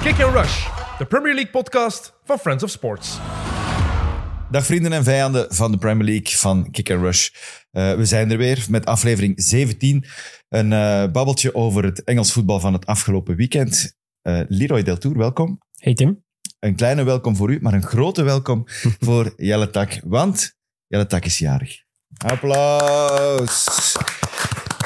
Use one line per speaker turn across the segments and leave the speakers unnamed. Kick and Rush, de Premier League podcast van Friends of Sports.
Dag vrienden en vijanden van de Premier League van Kick and Rush. Eh, we zijn er weer met aflevering 17. Een eh, babbeltje over het Engels voetbal van het afgelopen weekend. Eh Leroy Deltour, welkom.
Hey Tim.
Een kleine welkom voor u, maar een grote welkom voor Jelle Tak. Want Jelle Tak is jarig. Applaus!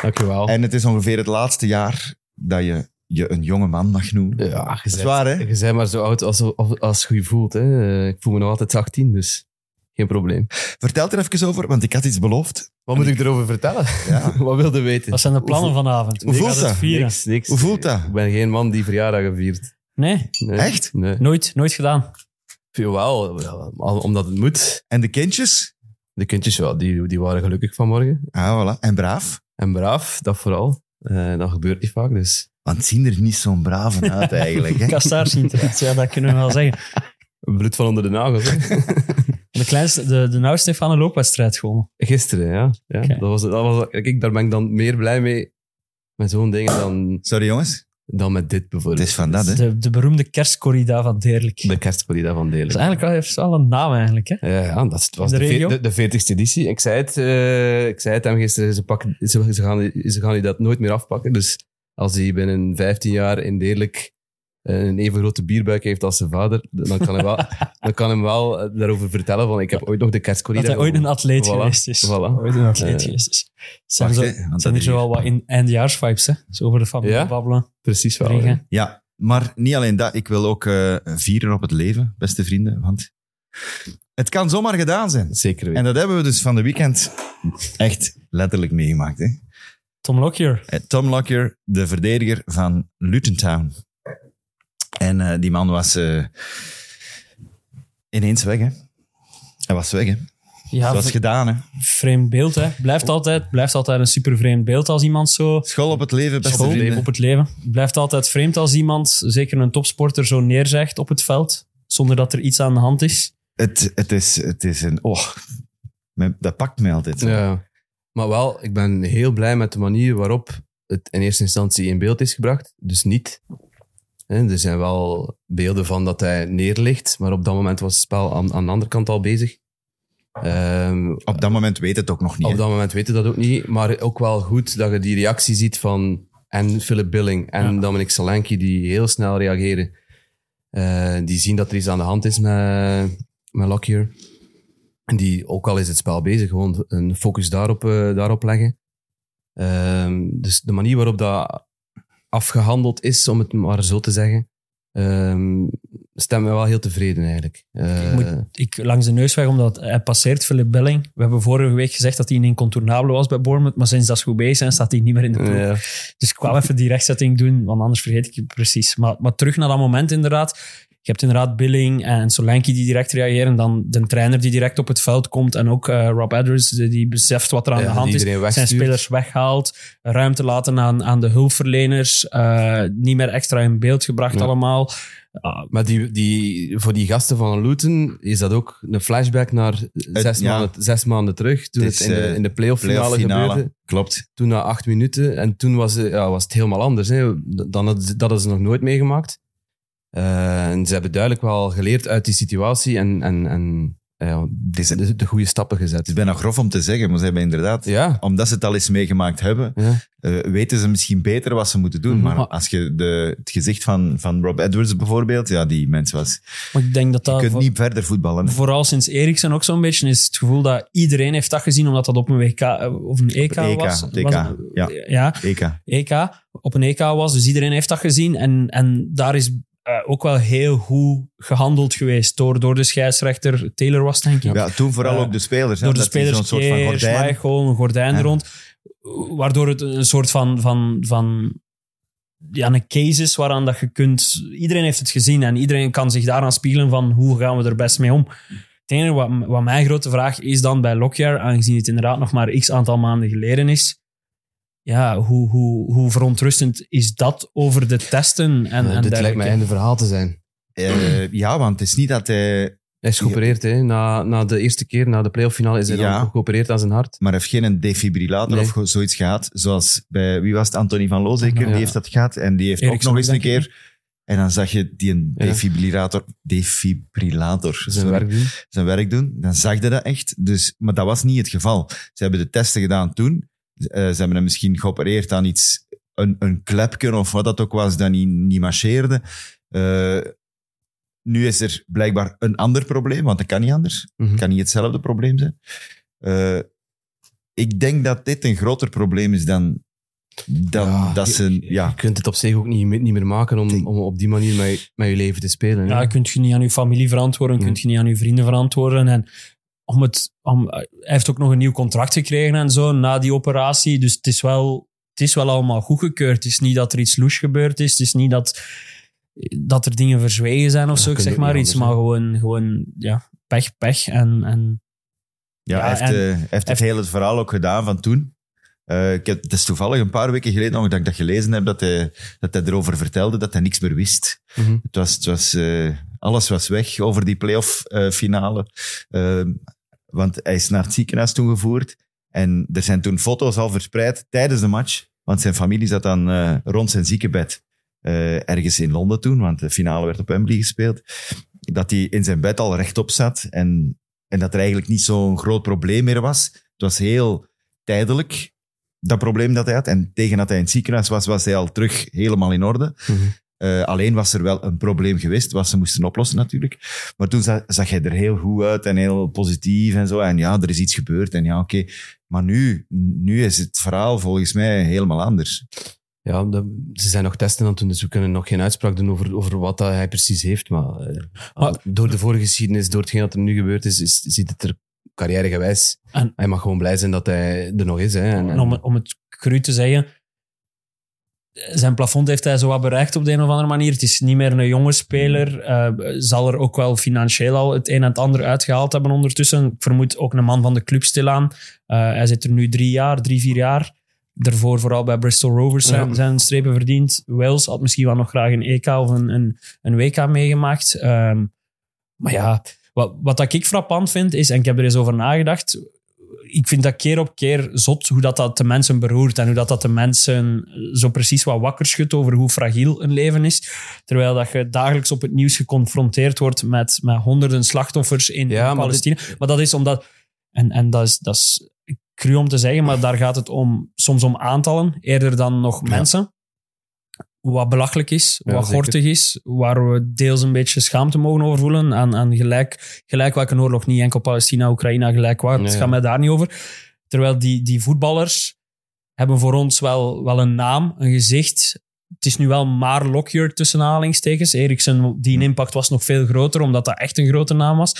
Dankjewel.
En het is ongeveer het laatste jaar dat je je een jonge man mag noemen.
Ja,
is waar, hè?
Je bent maar zo oud als, als, als je je voelt. Hè. Eh, Ik voel me nog altijd 18, dus geen probleem.
Vertel er even over, want ik had iets beloofd.
Wat moet ik erover vertellen?
Ja.
Wat wilde weten?
Wat zijn de plannen vanavond?
Hoe
Wie
voelt
gaat het
dat?
vieren?
Niks, niks.
Hoe voelt dat?
Ik ben geen man die verjaardagen viert.
Nee,
Nee.
Echt?
Nee.
nooit, nooit gedaan.
Jawel, ja, omdat het moet.
En de kindjes?
De kindjes wel, die, die waren gelukkig vanmorgen.
Ah, voilà. En braaf?
En braaf, dat vooral. Eh, dat gebeurt niet vaak, dus...
Want zien er niet zo'n braven uit eigenlijk. Hè?
Kastaars zien eruit, ja, dat kunnen we wel zeggen.
Bloed van onder de nagels, hè.
De kleinste, de, de nauwste heeft aan een loopwedstrijd gewonnen.
Gisteren, ja. ja
Oké.
dat was, dat was, kijk, daar ben ik dan meer blij mee met zo'n dingen dan,
Sorry jongens,
dan met dit
het
bijvoorbeeld.
is van dat hè.
De, de beroemde kerstcorrida van Deerlijk.
De kerstcorrida van Delen.
Dus eigenlijk wel- heeft ze wel een naam eigenlijk, hè?
Ja, ja dat is- het was
In
de,
de regio?
ve- de, de 40ste editie. Ik zei het, eh, ik zei het hem gisteren, ze, pakken, ze, ze gaan, ze gaan die dat nooit meer afpakken. Dus als hij binnen 15 jaar in Deerlijk eh, een even grote bierbuik heeft als zijn vader, dan kan hij wel, dan kan hem wel eh, daarover vertellen van ik heb ooit nog de kerstcorrida
Dat hij ooit een
gewonnen.
atleet
Voilà,
geweest is.
voilà.
Ooit een atleet
Eh,
geweest is. Zijn,
Wacht,
zo,
hè, want dat
zijn er
is
zo
hier.
wel wat in eindjaarsvibes, hè? Zo over de familie
Ja?
babbelen,
Precies wel. hè.
drinken.
Ja, maar niet alleen dat. Ik wil ook eh, vieren op het leven, beste vrienden. Want het kan zomaar gedaan zijn.
Zeker weten.
En dat hebben we dus van de weekend echt letterlijk meegemaakt. Hè?
Tom Lockyer.
Eh, Tom Lockyer, de verdediger van Luton Town. En eh, die man was eh, ineens weg. Hè? Hij was weg. Hè?
Ja,
dat was
v-
gedaan. Hè?
vreemd beeld, hè? Blijft altijd, blijft altijd een super vreemd beeld als iemand zo...
School op het leven, beste
School,
vrienden.
eh, op het leven. Het blijft altijd vreemd als iemand, zeker een topsporter, zo neerzegt op het veld, zonder dat er iets aan de hand is.
Het, het, is, het is een... Oh, me- dat pakt mij altijd.
Ja. Maar wel, ik ben heel blij met de manier waarop het in eerste instantie in beeld is gebracht. Dus niet. Hè, er zijn wel beelden van dat hij neerligt, maar op dat moment was het spel aan, aan de andere kant al bezig. Ehm,
Op dat moment weet het ook nog niet.
op
hè.
dat moment weten we dat ook niet, maar ook wel goed dat je die reactie ziet van en Philip Billing en Dominic Solanke die heel snel reageren. Eh, die zien dat er iets aan de hand is met, met Lockyer. En die, ook al is het spel bezig, gewoon een focus daarop, eh, daarop leggen. Ehm, dus de manier waarop dat afgehandeld is, om het maar zo te zeggen, ehm, stemt me wel heel tevreden eigenlijk. Eh,
Ik moet- Ik langs de neusweg, omdat hij passeert Philip Belling. We hebben vorige week gezegd dat hij een incontournabele was bij Bournemouth, maar sinds dat ze goed bezig zijn, staat hij niet meer in de ploeg.
ja.
Dus ik wou even die rechtzetting doen, want anders vergeet ik het precies. Maar, maar terug naar dat moment inderdaad. Je hebt inderdaad Billing en Solanke die direct reageren. Dan de trainer die direct op het veld komt. En ook eh, Rob Edwards die, die beseft wat er aan
Ja,
de hand
die
is.
iedereen
Zijn
wegstuurt.
spelers weghaalt. Ruimte laten aan, aan de hulpverleners. eh, niet meer extra in beeld gebracht
Ja.
allemaal. Ah,
Maar die, die, voor die gasten van Luton is dat ook een flashback naar zes,
ja.
maanden, zes maanden terug. Toen
Het
het,
is,
in,
eh,
de, in de play-off finale
Playoff-finale.
gebeurde.
Klopt.
Toen na acht minuten. En toen was, eh, ja, was het helemaal anders. Hè. Dan had, dat hadden ze nog nooit meegemaakt. Eh, en ze hebben duidelijk wel geleerd uit die situatie. En, en, en ja, de, de goede stappen
Het is
gezet.
bijna grof om te zeggen, maar ze hebben inderdaad...
Ja,
Omdat ze het al eens meegemaakt hebben,
ja.
eh, weten ze misschien beter wat ze moeten doen.
Mhm.
Maar als je de, het gezicht van, van Rob Edwards bijvoorbeeld... Ja, die mens was...
maar ik denk dat
Je
dat...
kunt
voor-
niet verder voetballen. hè.
Vooral sinds Eriksen ook zo'n beetje is het gevoel dat iedereen heeft dat gezien, omdat dat op een WK eh, of een EK,
Op het EK,
was.
op het EK,
was-
ja.
ja.
EK.
EK, E op een EK was. Dus iedereen heeft dat gezien. En, en daar is eh, ook wel heel goed gehandeld geweest door, door de scheidsrechter. Taylor was het, denk ik.
Ja, toen vooral
Eh,
ook de spelers. hè,
door de
dat die
spelers,
Zo'n soort van
Keer,
gordijn.
Schmeichel, een gordijn
Ja.
rond. Waardoor het een soort van... van, van ja, een case is waaraan dat je kunt... Iedereen heeft het gezien en iedereen kan zich daaraan spiegelen van hoe gaan we er best mee om. Het enige wat, wat mijn grote vraag is dan bij Lockyer, aangezien het inderdaad nog maar x aantal maanden geleden is, ja, hoe, hoe, hoe verontrustend is dat over de testen en, en
Eh, dit lijkt
dergelijke?
mij einde verhaal te zijn.
Eh, ja, want het is niet dat hij...
Hij is geopereerd. Hè. Na, na de eerste keer, na de play-off finale, is hij
Ja.
dan geopereerd aan zijn hart.
Maar hij heeft geen defibrillator
Nee.
of ge- zoiets gehad. Zoals bij... Wie was het? Anthony van Loo zeker?
Ja.
Die heeft dat gehad. En die heeft ook
Eriksen
nog eens een
ook, denk
keer...
ik.
En dan zag je die
Ja.
defibrillator, defibrillator
Zijn
sorry,
werk doen.
zijn werk doen. Dan zag je dat echt. Dus, maar dat was niet het geval. Ze hebben de testen gedaan toen. Eh, ze hebben hem misschien geopereerd aan iets, een, een klepje of wat dat ook was, dat niet, niet marcheerde. Eh, nu is er blijkbaar een ander probleem, want dat kan niet anders.
Mhm.
Het kan niet hetzelfde probleem zijn. Eh, ik denk dat dit een groter probleem is dan, dan
Ja,
dat ze...
je-
Ja,
Je kunt het op zich ook niet, niet meer maken om,
Denk-
om op die manier met, met je leven te spelen. hè. Mm.
Ja, kun je niet aan je familie verantwoorden,
Ja.
kun je niet aan je vrienden verantwoorden. En om het, om, eh, hij heeft ook nog een nieuw contract gekregen en zo na die operatie. Dus het is wel, het is wel allemaal goedgekeurd. Het is niet dat er iets loes gebeurd is. Het is niet dat, dat er dingen verzwegen zijn of zo,
kun
ik
je
zeg
ook
maar
niet
iets.
anders,
Maar gewoon, gewoon ja, pech, pech. En, en
Ja,
Ja,
hij heeft,
en-
eh, hij heeft het hele verhaal ook gedaan van toen. Eh, ik heb, het is toevallig een paar weken geleden nog dat ik dat gelezen heb, dat hij, dat hij erover vertelde dat hij niks meer wist.
Mhm.
Het was, het was, eh, alles was weg over die playoff eh, finale. Ehm, want hij is naar het ziekenhuis toen gevoerd. En er zijn toen foto's al verspreid tijdens de match. Want zijn familie zat dan eh, rond zijn ziekenbed. eh, ergens in Londen toen, want de finale werd op Wembley gespeeld. Dat hij in zijn bed al rechtop zat. En, en dat er eigenlijk niet zo'n groot probleem meer was. Het was heel tijdelijk, dat probleem dat hij had. En tegen dat hij in het ziekenhuis was, was hij al terug helemaal in orde.
Mhm.
Eh, alleen was er wel een probleem geweest, wat ze moesten oplossen natuurlijk. Maar toen za- zag hij er heel goed uit en heel positief en zo. En ja, er is iets gebeurd en ja, oké. Maar nu, nu is het verhaal volgens mij helemaal anders.
Ja, de- ze zijn nog testen aan het doen, dus we kunnen nog geen uitspraak doen over, over wat dat hij precies heeft. Maar, eh,
Maar-
door de vorige geschiedenis, door hetgeen dat er nu gebeurd is, is ziet het er carrièregewijs.
En-
hij mag gewoon blij zijn dat hij er nog is. Hè, en, en-
en om, om het cru te zeggen, zijn plafond heeft hij zo wat bereikt op de een of andere manier. Het is niet meer een jonge speler. Eh, zal er ook wel financieel al het een en het ander uitgehaald hebben ondertussen. Ik vermoed ook een man van de club stilaan. Eh hij zit er nu drie jaar, drie, vier jaar. Daarvoor vooral bij Bristol Rovers zijn,
Ja.
zijn strepen verdiend. Wales had misschien wel nog graag een EK of een, een, een WK meegemaakt. Ehm, maar ja, wat, wat dat ik frappant vind is, en ik heb er eens over nagedacht, ik vind dat keer op keer zot hoe dat, dat de mensen beroert en hoe dat, dat de mensen zo precies wat wakker schudt over hoe fragiel een leven is. Terwijl dat je dagelijks op het nieuws geconfronteerd wordt met, met honderden slachtoffers in,
Ja,
in
maar
Palestina. Maar dat is omdat... En, en dat is... Dat is Cru om te zeggen, maar daar gaat het om, soms om aantallen, eerder dan nog
Ja.
mensen. Wat belachelijk is,
Ja,
wat
zeker.
gortig is, waar we deels een beetje schaamte mogen over voelen. Aan, aan gelijk, gelijk welke oorlog, niet enkel Palestina, Oekraïne, gelijk waar.
Nee,
Het
ja.
gaat mij daar niet over. Terwijl die, die voetballers hebben voor ons wel, wel een naam, een gezicht. Het is nu wel maar Lockyer tussen aanhalingstekens. Eriksen, die impact was nog veel groter, omdat dat echt een grote naam was.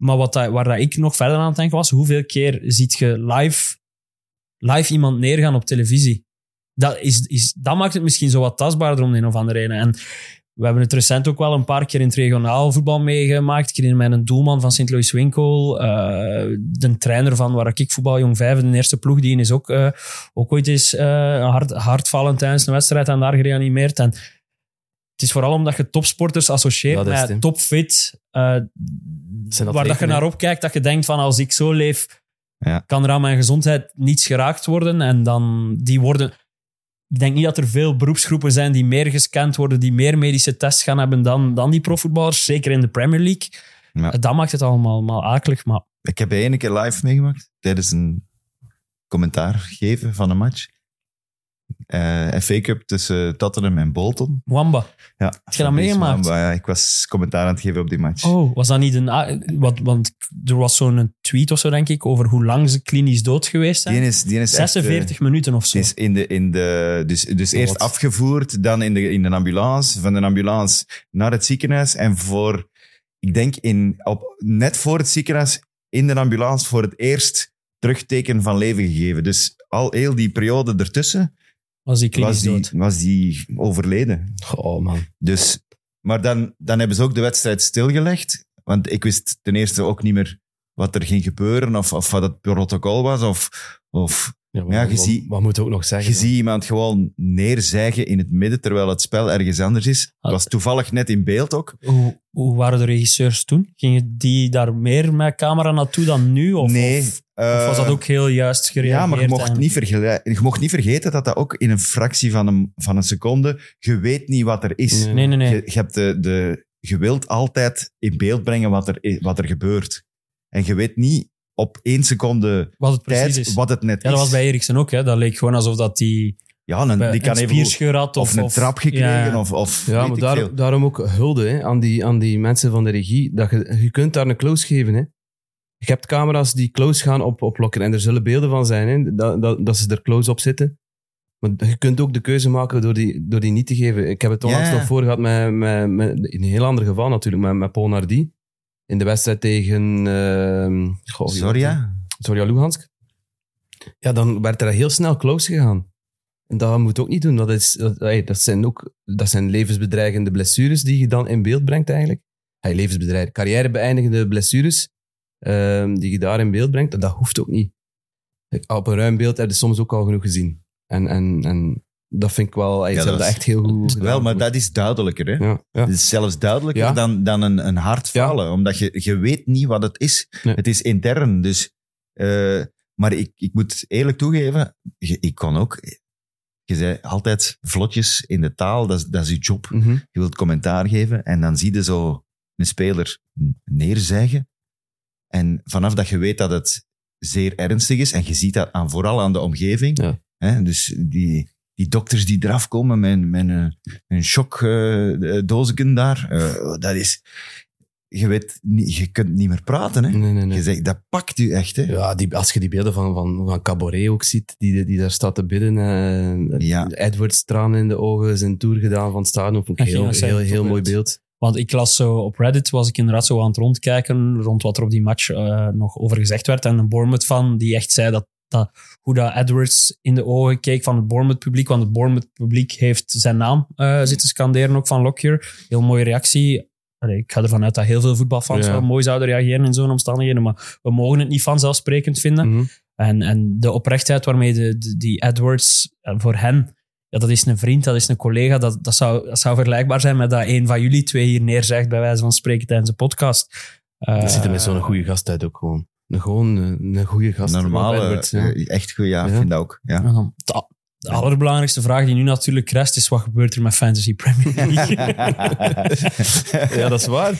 Maar wat dat, waar dat ik nog verder aan het denken was, hoeveel keer ziet je live, live iemand neergaan op televisie? Dat, is, is, dat maakt het misschien zo wat tastbaarder om de een of andere reden. En we hebben het recent ook wel een paar keer in het regionaal voetbal meegemaakt. Ik herinner mij een doelman van Sint Louis Winkel. eh, de trainer van waar ik voetbal, Jong 5, de eerste ploeg, die is ook, eh, ook ooit eens eh, hard, hardvallend tijdens een wedstrijd en daar gereanimeerd. En het is vooral omdat je topsporters associeert
Dat is het, hè.
met topfit. eh,
zijn
waar dat je
atleten, hè.
naar opkijkt, dat je denkt van als ik zo leef,
Ja.
kan er aan mijn gezondheid niets geraakt worden. En dan die worden... Ik denk niet dat er veel beroepsgroepen zijn die meer gescand worden, die meer medische tests gaan hebben dan, dan die profvoetballers. Zeker in de Premier League. Eh,
Ja.
Dat maakt het allemaal, allemaal akelig. Maar
Ik heb één keer live meegemaakt tijdens een commentaar geven van een match. Eh FA Cup tussen Tottenham en Bolton.
Wamba.
Ja,
Heb je dat meegemaakt?
Ja, ik was commentaar aan het geven op die match.
Oh, was dat niet een... a- Wat, want er was zo'n tweet of zo, denk ik, over hoe lang ze klinisch dood geweest zijn.
Die is, die is echt, eh,
46 minuten of zo.
Het is Dus in de, in de, dus dus eerst
Wat?
afgevoerd, dan in de, in de ambulance, van de ambulance naar het ziekenhuis. En voor, ik denk in, op, net voor het ziekenhuis, in de ambulance, voor het eerst terugteken van leven gegeven. Dus al heel die periode ertussen
was die klinisch
was die,
dood.
was die overleden.
Oh man.
Dus, maar dan, dan hebben ze ook de wedstrijd stilgelegd. Want ik wist ten eerste ook niet meer wat er ging gebeuren of, of wat het protocol was. Of, of
wat-
Ja, je
wat,
ziet-
wat moet ik ook nog zeggen?
Je ziet iemand gewoon neerzijgen in het midden terwijl het spel ergens anders
Ah,
is. Dat was toevallig net in beeld ook.
Hoe, hoe waren de regisseurs toen? Gingen die daar meer met camera naartoe dan nu? Of,
nee.
of, of was dat
eh,
ook heel juist gereageerd?
Ja, maar je mocht,
en-
niet vergele- je mocht niet vergeten dat dat ook in een fractie van een, van een seconde, je weet niet wat er is.
Nee.
Nee, nee, nee.
Je, je hebt de, de, je wilt altijd in beeld brengen wat er, i- wat er gebeurt. En je weet niet op één seconde
Wat het precies
tijd
is.
wat het net
Ja, dat
is.
was bij Eriksen ook. Hè. Dat leek gewoon alsof dat die,
ja, een, die
die
kan
een
even goed-
spierscheur had. Of,
of een
of-
trap gekregen
ja.
of, of
Ja,
weet
maar
ik
daar-
veel.
daarom ook hulde hè, aan, die, aan die mensen van de regie. Dat je, je kunt daar een close geven. Hè. Je hebt camera's die close gaan op, oplokken. En er zullen beelden van zijn hè, dat, dat, dat ze er close op zitten. Maar je kunt ook de keuze maken door die, door die niet te geven. Ik heb het onlangs
Ja.
nog voor gehad met, met, met- in een heel ander geval natuurlijk, met, met Paul Nardi. In de wedstrijd tegen... ehm, goh, wie
Sorry,
was het?
ja.
Zorja Luhansk. Ja, dan werd er heel snel close gegaan. En dat moet je ook niet doen. Dat, is, dat, hey, dat, zijn ook, dat zijn levensbedreigende blessures die je dan in beeld brengt eigenlijk. Hey, levensbedreigende, carrièrebeëindigende blessures ehm, die je daar in beeld brengt. Dat hoeft ook niet. Kijk, Op een ruim beeld heb je soms ook al genoeg gezien. En, en, en dat vind ik wel... Hey,
Ja,
ze
dat
hebben
is-
dat echt heel goed gedaan.
Wel, maar dat is duidelijker. Hè?
Ja, ja.
Het is zelfs duidelijker
Ja.
dan, dan een, een hard
Ja.
falen, omdat je, je weet niet wat het is.
Nee.
Het is intern, dus... eh, maar ik, ik moet eerlijk toegeven, je- ik kon ook... Je zei altijd vlotjes in de taal, dat is, dat is je job.
Mhm.
Je wilt commentaar geven en dan zie je zo een speler neerzeggen. En vanaf dat je weet dat het zeer ernstig is, en je ziet dat aan, vooral aan de omgeving,
Ja.
hè, dus die, die dokters die eraf komen met, met een, een eh, shockdoosje daar, eh, dat is... Je, weet, niet- je kunt niet meer praten. Hè?
Nee, nee, nee.
Je zegt, dat pakt u echt. Hè?
Ja, die, als je die beelden van, van, van Cabaret ook ziet, die, die daar staat te bidden. eh,
Ja.
Edwards, tranen in de ogen, zijn tour gedaan van het stadion. Vond ik
Ja,
heel,
ja,
heel,
zij
heel,
het
mooi
opbeeld.
beeld.
Want ik las zo op Reddit, was ik inderdaad zo aan het rondkijken rond wat er op die match eh, nog over gezegd werd. En een Bournemouth van die echt zei dat, dat hoe dat Edwards in de ogen keek van het Bournemouth publiek. Want het Bournemouth publiek heeft zijn naam eh, zitten scanderen ook van Lockyer. Heel mooie reactie. Allee, ik ga ervan uit dat heel veel voetbalfans
Ja.
wel mooi zouden reageren in zo'n omstandigheden. Maar we mogen het niet vanzelfsprekend vinden.
Mhm.
En, en de oprechtheid waarmee de, de- die Edwards eh, voor hen, ja, dat is een vriend, dat is een collega, dat, dat, zou, dat zou vergelijkbaar zijn met dat een van jullie twee hier neerzegt, bij wijze van spreken tijdens een podcast. Eh,
Er ziet er met zo'n goede gast uit ook gewoon. Een, gewoon eh, een, een goede gast. Rob
Normale,
Edwards, ja.
eh, echt goed, ja, ik
Ja.
vind dat ook. Ja.
en dan De, de allerbelangrijkste vraag die nu natuurlijk rest is: wat gebeurt er met Fantasy Premier League?
Ja, dat is waar.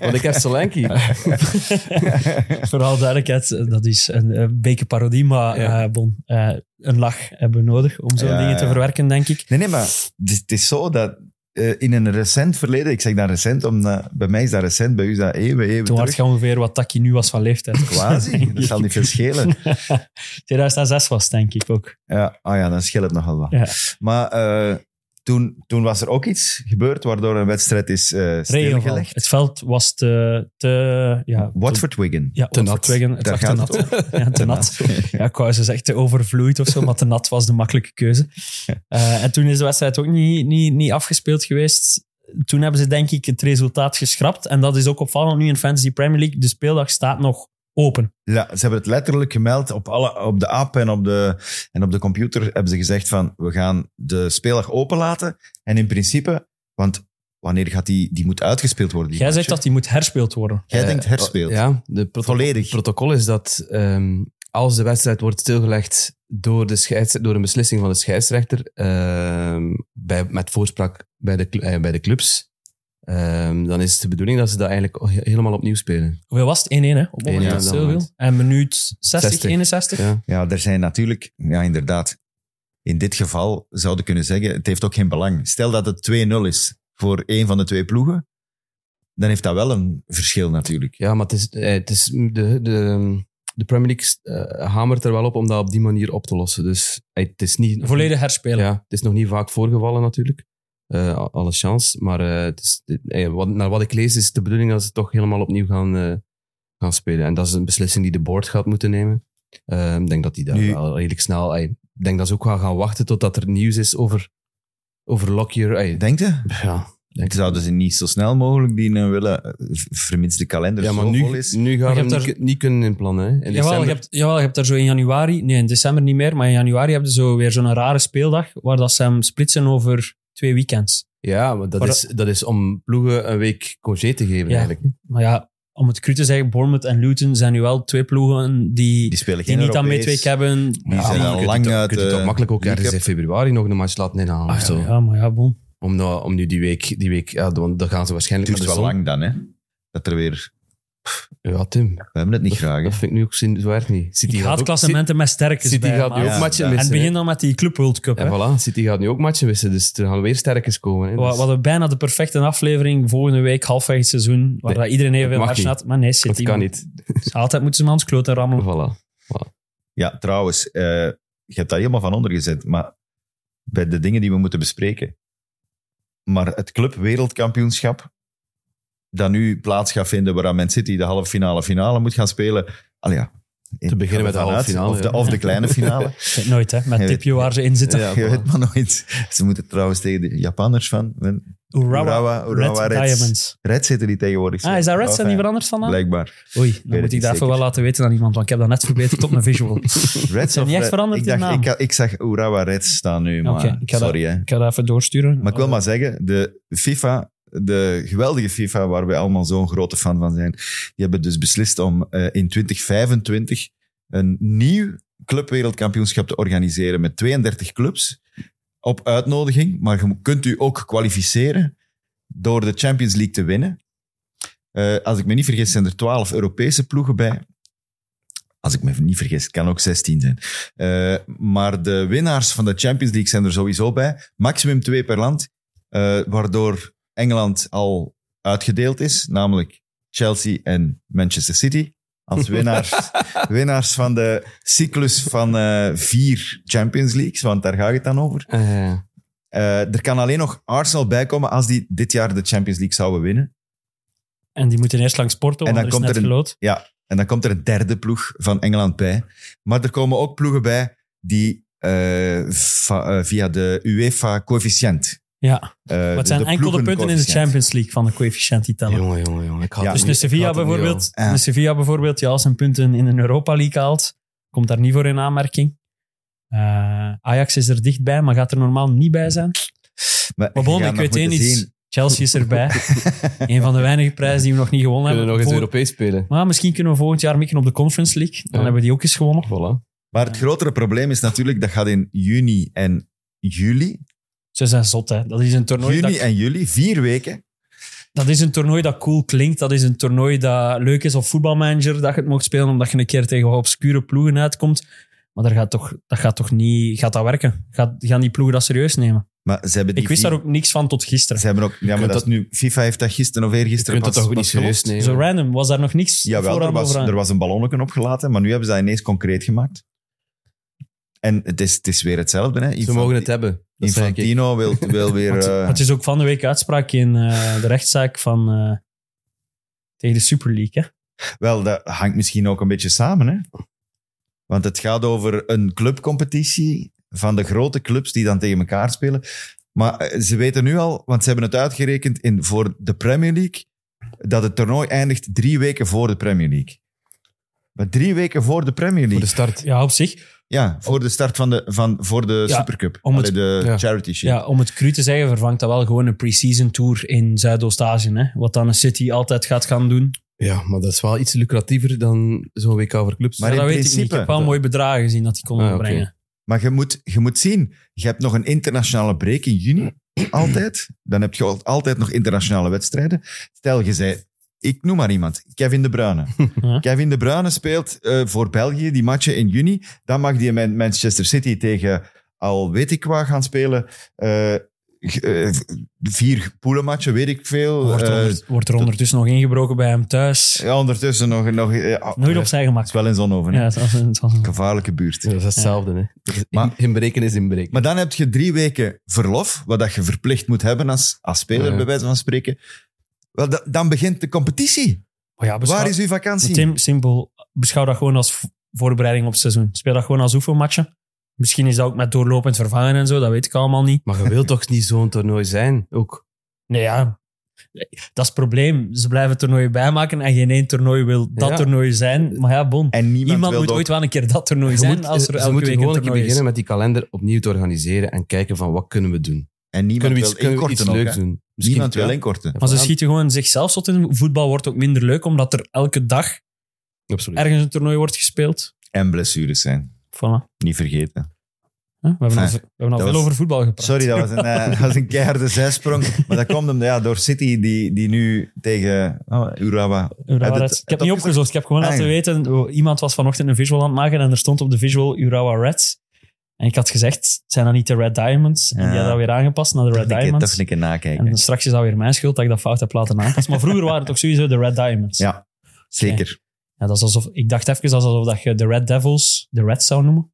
Want ik heb Solanki.
Voor alle duidelijkheid, eh, dat is een eh, bekerparodie, maar
Ja.
eh, bon, eh, een lach hebben we nodig om zo'n
Ja,
dingen te
ja.
verwerken, denk ik.
Nee, nee, maar het is, het is zo dat eh, in een recent verleden, ik zeg dan recent, omdat bij mij is dat recent, bij u is dat eeuwen, eeuwen
Toen was
terug.
je ongeveer wat Taki nu was van leeftijd.
Quasi, dat zal niet veel schelen.
2006 was, denk ik ook.
Ja, oh ja, dan scheelt het nogal wat.
Ja.
Maar eh, toen, toen was er ook iets gebeurd waardoor een wedstrijd is eh
Regenval.
stilgelegd.
Het veld was te... te ja,
Watford Wigan.
te- ja,
Te nat.
Watford-Wigan. Het
Daar
was te
gaat
nat.
het
Ja, te nat. Ja, ik wou ze zeggen te overvloeid of zo, maar te nat was de makkelijke keuze. Eh, en toen is de wedstrijd ook niet, niet, niet afgespeeld geweest. Toen hebben ze denk ik het resultaat geschrapt. En dat is ook opvallend nu in Fantasy Premier League. De speeldag staat nog open.
Ja, ze hebben het letterlijk gemeld op, alle, op de app en op de, en op de computer. Hebben ze gezegd van, we gaan de speeldag openlaten. En in principe, want wanneer gaat die, die moet uitgespeeld worden? die
Jij
match,
zegt
hè?
dat die moet herspeeld worden.
Jij
Eh,
denkt herspeeld.
Ja, de protocol
Volledig.
Het protocol is dat ehm, als de wedstrijd wordt stilgelegd door, de scheids, door een beslissing van de scheidsrechter, ehm, bij, met voorspraak bij de, cl- eh, bij de clubs, ehm, dan is het de bedoeling dat ze dat eigenlijk he- helemaal opnieuw spelen.
Hoeveel was het? 1-1, hè? Op het moment
1-1
dat het
op dat
stil
moment.
viel. En minuut 60,
60.
61?
Ja.
Ja, er zijn natuurlijk, ja inderdaad, in dit geval zouden kunnen zeggen, het heeft ook geen belang. Stel dat het 2-0 is voor één van de twee ploegen, dan heeft dat wel een verschil natuurlijk.
Ja, maar het is, eh, het is de, de, de Premier League eh, hamert er wel op om dat op die manier op te lossen. Dus eh, het is niet...
Volledig herspelen.
Ja, het is nog niet vaak voorgevallen natuurlijk. Eh, a- alle chance. Maar eh, het is, dit- eh, wat, naar wat ik lees is het de bedoeling dat ze toch helemaal opnieuw gaan, eh, gaan spelen. En dat is een beslissing die de board gaat moeten nemen. Eh, ik denk dat die daar
Nu-
wel redelijk snel... eh, ik denk dat ze ook wel gaan wachten totdat er nieuws is over, over Lockyer. eh,
Denk je?
ja,
Zouden ze niet zo snel mogelijk dienen willen, eh, v- vermits de kalender
Ja, maar
zo vol
nu,
is?
Maar
nu gaan
je
we
hebt
niet,
daar-
niet kunnen inplannen. Hè?
Jawel
In december.
je, hebt, jawel, je hebt daar zo in januari, nee, in december niet meer, maar in januari hebben ze zo weer zo'n rare speeldag waar dat ze hem splitsen over twee weekends.
Ja, maar dat,
Maar
is, dat is om ploegen een week congé te geven
Ja.
eigenlijk. hè.
Maar ja, om het cru te zeggen, Bournemouth en Luton zijn nu wel twee ploegen die,
Die
die,
spelen geen
niet aan
Europees.
midweek hebben.
Die zijn
maar
al
je
lang
kunt het, ook-
uit
je kunt het
de
ook makkelijk ook
league
ergens in februari nog een match laten inhalen. of
Ah,
zo.
ja, ja, maar ja, bon.
Om, nou, om nu die week, die week ja, dan, dan gaan ze
Het
waarschijnlijk
duurt
naar
wel
de zon.
lang dan, hè? Dat er weer...
Ja, Tim.
We hebben het niet graag, hè?
Dat vind ik nu ook zin, zo erg niet. City
Ik haat
ook-
klassementen met sterkes
City
bij,
gaat
maar-
nu ook
Ja,
matchen
ja.
En
missen. hè.
begin dan met die Club World Cup. hè.
En voilà, City gaat nu ook matchen wissen, dus er gaan weer sterkers komen. Hè.
We we
Dus
hadden bijna de perfecte aflevering volgende week, halfweg het seizoen, waar
Nee,
dat iedereen even
dat
veel
mag
matchen
niet.
had. Maar nee, City.
dat kan niet.
Dus Altijd moeten ze hem aan het kloten rammelen.
Voilà.
Ja, trouwens, eh, je hebt daar helemaal van ondergezet, maar bij de dingen die we moeten bespreken. Maar het Club Wereldkampioenschap, dat nu plaats gaat vinden waaraan Man City de halve finale finale moet gaan spelen. Al ja,
Te beginnen met de halve finale,
Of de,
ja.
of de kleine finale.
Ik weet nooit, hè. Met
Je
tipje waar ze in zitten.
je weet maar nooit. Ze moeten trouwens tegen de Japanners van.
Urawa,
Urawa, Urawa
Red
Reds.
Diamonds.
Reds zitten die tegenwoordig.
Ah, is dat Reds?
Oh,
Zijn
fijn.
die veranderd vandaag?
Blijkbaar.
Oei,
het
dan moet ik
niet
daarvoor
zeker.
wel laten weten aan iemand, want ik heb dat net verbeterd op mijn visual.
Reds
Zijn
of
die echt
Red-
veranderd
ik,
in
dacht,
naam?
ik, ik zag Urawa Reds staan nu, maar
Oké, ik ga dat-
sorry hè.
Ik ga dat even doorsturen.
Maar ik wil maar zeggen, de FIFA, de geweldige FIFA, waar wij allemaal zo'n grote fan van zijn, die hebben dus beslist om eh, in 2025 een nieuw clubwereldkampioenschap te organiseren met 32 clubs op uitnodiging. Maar je kunt u ook kwalificeren door de Champions League te winnen. Eh, als ik me niet vergis, zijn er 12 Europese ploegen bij. Als ik me niet vergis, het kan ook 16 zijn. Eh, maar de winnaars van de Champions League zijn er sowieso bij. Maximum twee per land. eh, waardoor Engeland al uitgedeeld is, namelijk Chelsea en Manchester City. Als winnaars, winnaars van de cyclus van eh, vier Champions Leagues, want daar gaat het dan over.
Eh,
Eh, er kan alleen nog Arsenal bijkomen als die dit jaar de Champions League zouden winnen.
En die moeten eerst langs Porto,
En
want
dan
er is
komt
net
er een-
geloot.
En dan komt er een derde ploeg van Engeland bij. Maar er komen ook ploegen bij die eh, va- eh, via de UEFA-coëfficiënt.
Ja,
eh,
wat zijn enkel de punten in de
ploegencoëfficiënt.
Champions League van de coëfficiënt die tellen.
jongen, jongen, jongen. Ik had
Ja,
het
dus
niet-
een
ik
Sevilla
had het niet
bijvoorbeeld,
wel. Ja.
een Sevilla bijvoorbeeld, die al zijn punten in een Europa League haalt, komt daar niet voor in aanmerking. Eh, Ajax is er dichtbij, maar gaat er normaal niet bij zijn. Maar bon,
je gaat
ik
nog
weet één
moeten
iets.
zien.
Chelsea is erbij. een van de weinige prijzen die we nog niet
wil.
gewonnen
Kunnen we
hebben.
nog eens
Vol-
Europees spelen?
Maar misschien kunnen we volgend jaar mikken op de Conference League. Dan
Ja.
hebben we die ook eens gewonnen.
Voilà.
Maar het grotere probleem is natuurlijk, dat gaat in juni en juli.
Ze zijn zot, hè. Dat is een toernooi,
Juni
dat,
en juli, vier weken.
dat is een toernooi dat cool klinkt. Dat is een toernooi dat leuk is op voetbalmanager, dat je het mocht spelen omdat je een keer tegen obscure ploegen uitkomt. Maar daar gaat toch, dat gaat toch niet... Gaat dat werken? Gaat, gaan die ploegen dat serieus nemen?
Maar ze hebben die
Ik wist
vier-
daar ook niks van tot gisteren.
Ze hebben ook... Ja, maar
kunt
dat, is nu... FIFA heeft dat gisteren of
Je
eergisteren
kunt dat
pas-
toch niet
pas
serieus
gelost.
nemen?
Zo random. Was daar nog niks
Jawel, er
vooraan
was,
over aan?
er was een ballonnetje opgelaten, maar nu hebben ze dat ineens concreet gemaakt. En het is, het is weer hetzelfde. Hè?
Ze
Infanti-
mogen het hebben. Dat zei ik.
Infantino wil, wil weer...
Want
eh,
het is ook van de week uitspraak in eh, de rechtszaak van, eh, tegen de Super League. Hè?
wel, dat hangt misschien ook een beetje samen. Hè? Want het gaat over een clubcompetitie van de grote clubs die dan tegen elkaar spelen. Maar eh, ze weten nu al, want ze hebben het uitgerekend in, voor de Premier League, dat het toernooi eindigt drie weken voor de Premier League. Maar drie weken voor de Premier League.
Voor de start.
Ja, op zich.
Ja, voor de start van de, van, voor de
Ja,
Supercup.
om het-
Allee, de
ja.
charity shit.
Ja, om het cru te zeggen, vervangt dat wel gewoon een pre-season tour in Zuidoost-Azië. hè. Wat dan een City altijd gaat gaan doen.
Ja, maar dat is wel iets lucratiever dan zo'n WK voor clubs.
Maar
Maar
in
Dus dat weet ik niet.
principe-
Ik heb wel mooie bedragen gezien dat die konden
Ah, oké.
brengen.
Maar je moet, je moet zien, je hebt nog een internationale break in juni, altijd. Dan heb je al- altijd nog internationale wedstrijden. Stel, je zei, ik noem maar iemand, Kevin De Bruyne.
Ja.
Kevin De Bruyne speelt eh, voor België die matchen in juni. Dan mag die Man- Manchester City tegen al weet ik waar gaan spelen. Eh, g- eh, vier poelenmatchen, weet ik veel.
Wordt er,
Eh,
onder- wordt er ondertussen nog ingebroken bij hem thuis.
ja, ondertussen nog... nog eh,
Nooit op zijn
Het
gemak.
is wel in Zonhoven,
Ja,
hè.
het was een- het was een-
Gevaarlijke buurt.
Ja, dat is hetzelfde, hè. Dat is in-
Maar-
inbreken is inbreken.
Maar dan heb je drie weken verlof, wat dat je verplicht moet hebben als, als speler,
Ja.
bij wijze van spreken. Wel, da- dan begint de competitie.
Oh ja, beschouw-
Waar is uw vakantie?
Tim, simpel. Beschouw dat gewoon als v- voorbereiding op het seizoen. Speel dat gewoon als oefenmatchen. Misschien is dat ook met doorlopend vervangen en zo, dat weet ik allemaal niet.
Maar je wilt toch niet zo'n toernooi zijn? Ook.
Nee, ja. Dat is het probleem. Ze blijven toernooien bijmaken en geen één toernooi wil dat
Ja.
toernooi zijn. Maar ja, bon.
En niemand
Iemand
wil
moet
ook-
ooit wel een keer dat toernooi
Ze
zijn
moet-
als er
ze
elke
moeten
week een
gewoon een keer
toernooi
beginnen
is.
met die kalender opnieuw te organiseren en kijken van wat kunnen we doen.
En niemand
Kunnen we
wil
iets, kunnen we iets
inkorten ook,
leuks
hè.
doen?
Niemand wil
wel.
inkorten.
Maar ze
Ja.
schieten gewoon zichzelf zot in. Voetbal wordt ook minder leuk, omdat er elke dag
Absoluut.
ergens een toernooi wordt gespeeld.
En blessures zijn.
Voilà.
Niet vergeten.
Huh? We hebben al,
Enfin,
we hebben al
dat
veel
was-
over voetbal gepraat.
Sorry, dat was een, eh, dat was een keiharde zijsprong. Maar dat komt hem ja, door City, die, die nu tegen oh, Urawa...
Urawa
Heb
Reds.
het-
ik heb
het opgezocht?
niet opgezocht. Ik heb gewoon
Ah,
laten
ja.
weten. oh, Iemand was vanochtend een visual aan het maken en er stond op de visual Urawa Reds. En ik had gezegd, zijn dat niet de Red Diamonds? En die
Ja.
had dat weer aangepast naar de Red
Dacht ik,
Diamonds.
dacht ik een nakijken.
En straks is dat weer mijn schuld dat ik dat fout heb laten aanpassen. Maar vroeger waren het ook sowieso de Red Diamonds.
Ja. Zeker.
Ja, dat is alsof, ik dacht even alsof dat je de Red Devils de Reds zou noemen.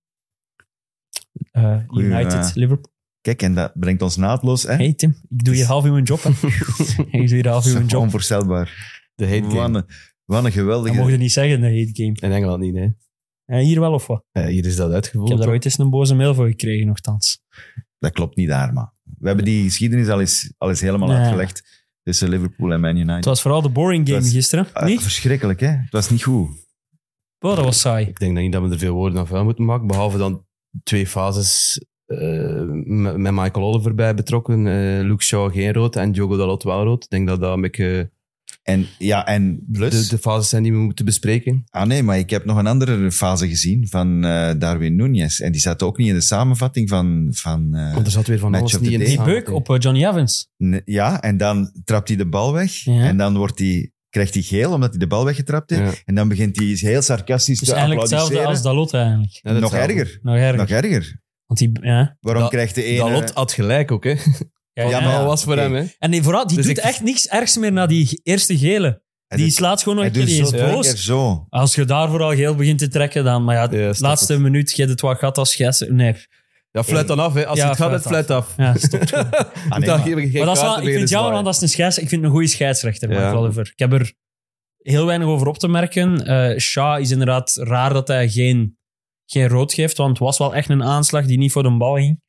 Eh,
Goeie,
United,
eh,
Liverpool.
Kijk, en dat brengt ons naadloos. Hè?
Hey Tim, ik doe hier half uur mijn job. hè. ik doe hier half uur mijn job.
Onvoorstelbaar.
De hate game.
Wat een, wat een
Dat
geweldige...
mocht je niet zeggen, de hate game.
In Engeland niet, hè?
Eh, hier wel of wat?
Eh, hier is dat
Ik
uitgevoerd.
heb daar ooit eens een boze mail voor gekregen, nogthans.
Dat klopt niet daar, maar we hebben die geschiedenis al eens, al eens helemaal
Ja.
uitgelegd tussen Liverpool en Man United.
Het was vooral de boring game
Dat is-
gisteren.
Ah,
Niet?
Verschrikkelijk, hè? Het was niet goed.
Oh, dat was saai.
Ik denk dat niet dat we er veel woorden aan vuil moeten maken, behalve dan twee fases eh, met met Michael Oliver bij betrokken. eh, Luke Shaw geen rood en Diogo Dalot wel rood. Ik denk dat dat een beetje
En ja, en
de,
dus...
de fases zijn die we moeten bespreken.
Ah nee, maar ik heb nog een andere fase gezien van eh, Darwin Nunez. En die zat ook niet in de samenvatting van... van eh,
Want er zat weer van
Match
alles
of the
niet in
day.
de
Die
samen-
beuk op eh, Johnny Evans.
n- ja, en dan trapt hij de bal weg.
Ja.
En dan wordt die, krijgt hij geel omdat hij de bal weggetrapt heeft.
Ja.
En dan begint hij heel sarcastisch
Dus
te
eigenlijk hetzelfde
applaudisseren.
als Dalot eigenlijk.
Ja, dat
nog
zou-
erger.
Nog erger.
Nog erger.
Want die, ja.
Waarom
Dat-
krijgt de ene...
Dalot had gelijk ook, hè?
Ja, ja.
Dat
maar-
was voor
oké.
hem, hè?
En die, vooral, die
Dus
doet
ik-
echt niks ergs meer na die eerste gele.
Hij
Die
doet-
slaat gewoon nog
hij
een keer,
doet
die
zo
is
twee
boos.
keer zo.
Als je daar vooral geel begint te trekken, dan... Maar ja,
Ja, stop
laatste
het.
minuut, je hebt het wat gat als jij... Nee,
Ja, fluit dan af, hè? Als
Ja,
het gaat, het
fluit
fluit af.
ja, stop.
Ah, nee,
Dan
maar-
geef ik
maar dat is
geen
wel,
kaarten
ik vind
meer,
het jammer,
dus
want dat is een scheids, ik vind een goede scheidsrechter,
Ja.
Mark Oliver. Ik heb er heel weinig over op te merken. Eh Shaw is inderdaad raar dat hij geen, geen rood geeft, want het was wel echt een aanslag die niet voor de bal ging.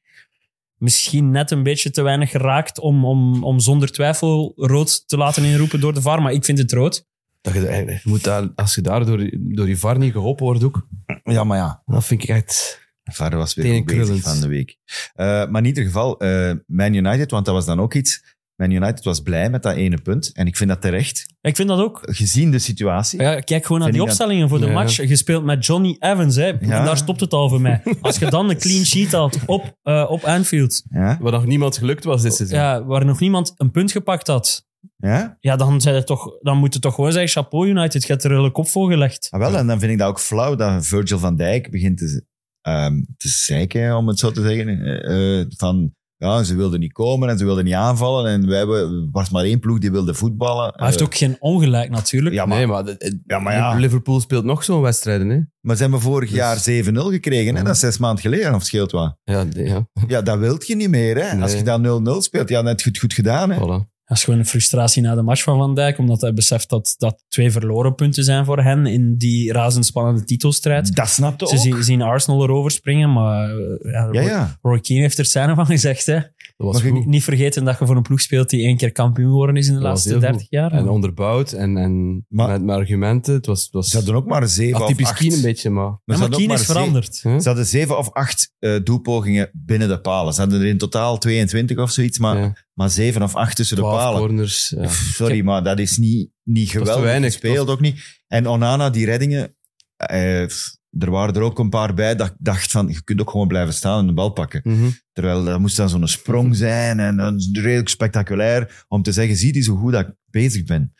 Misschien net een beetje te weinig geraakt om, om, om zonder twijfel rood te laten inroepen door de VAR, maar ik vind het rood.
Dat je, eigenlijk- je moet daar, als je daar door, door je VAR niet geholpen wordt ook,
Ja, maar ja.
dat vind ik echt...
Vader was weer
Tegen
goed bezig
Krullens.
van de week. Eh, maar in ieder geval, eh, Man United, want dat was dan ook iets. Man United was blij met dat ene punt. En ik vind dat terecht,
Ik vind dat ook.
gezien de situatie.
Ja, kijk gewoon
Vind
naar die
ik dat-
opstellingen voor de
Ja.
match. Gespeeld met Johnny Evans, hè. En
Ja.
daar stopt het al voor mij. Als je dan een clean sheet had op, eh, op Anfield,
Ja?
Wat nog niemand gelukt was dit seizoen.
ja, waar nog niemand een punt gepakt had,
ja?
Ja, dan, zijn er toch, dan moet je toch gewoon zeggen: chapeau United, je hebt er een kop voor gelegd.
Ah, wel, en dan vind ik dat ook flauw dat Virgil van Dijk begint te, ehm, te zeiken, om het zo te zeggen. Eh, eh, van, ja, ze wilden niet komen en ze wilden niet aanvallen. En wij hebben, er was maar één ploeg die wilde voetballen. Eh,
Hij heeft ook geen ongelijk natuurlijk.
ja, maar,
nee, maar, de-
Ja, maar ja.
Liverpool speelt nog zo'n wedstrijden, hè?
maar ze hebben vorig
Dus-
jaar 7-0 gekregen. Hè? Dat is zes maanden geleden, of het scheelt wat.
Ja, de- ja.
Ja, dat wilt je niet meer. Hè? Als je
Nee.
dan 0-0 speelt, ja, net goed, goed gedaan. Hè?
Voilà.
Dat is gewoon een frustratie na de match van Van Dijk, omdat hij beseft dat dat twee verloren punten zijn voor hen in die razendspannende titelstrijd.
Dat snapte
Ze zien, zien Arsenal erover springen, maar eh, ja,
Ja, ja.
Roy Keane heeft er scène van gezegd. Hè.
Dat was
Mag ik
goed.
Niet vergeten dat je voor een ploeg speelt die één keer kampioen geworden is in de
Dat was
laatste
heel goed.
30 jaar.
En onderbouwd en, en
Maar-
met mijn argumenten. Het was, het was
Ze hadden ook maar zeven of
atypisch
acht.
Keane een beetje, maar...
Ja,
ze
maar
hadden ook
Keane is
maar ze-
veranderd.
Huh?
Ze hadden zeven of acht eh, doelpogingen binnen de palen. Ze hadden er in totaal 22 of zoiets, maar,
ja,
maar zeven of acht tussen de
twaalf
palen.
corners. Ja.
Pff, Sorry, maar dat is niet, niet
te
geweldig.
weinig.
Speelt ook niet. En Onana, die reddingen, eh, pff, er waren er ook een paar bij dat ik dacht van, je kunt ook gewoon blijven staan en de bal pakken.
Mhm.
Terwijl dat moest dan zo'n sprong zijn en een redelijk spectaculair om te zeggen, zie die zo goed dat ik bezig ben.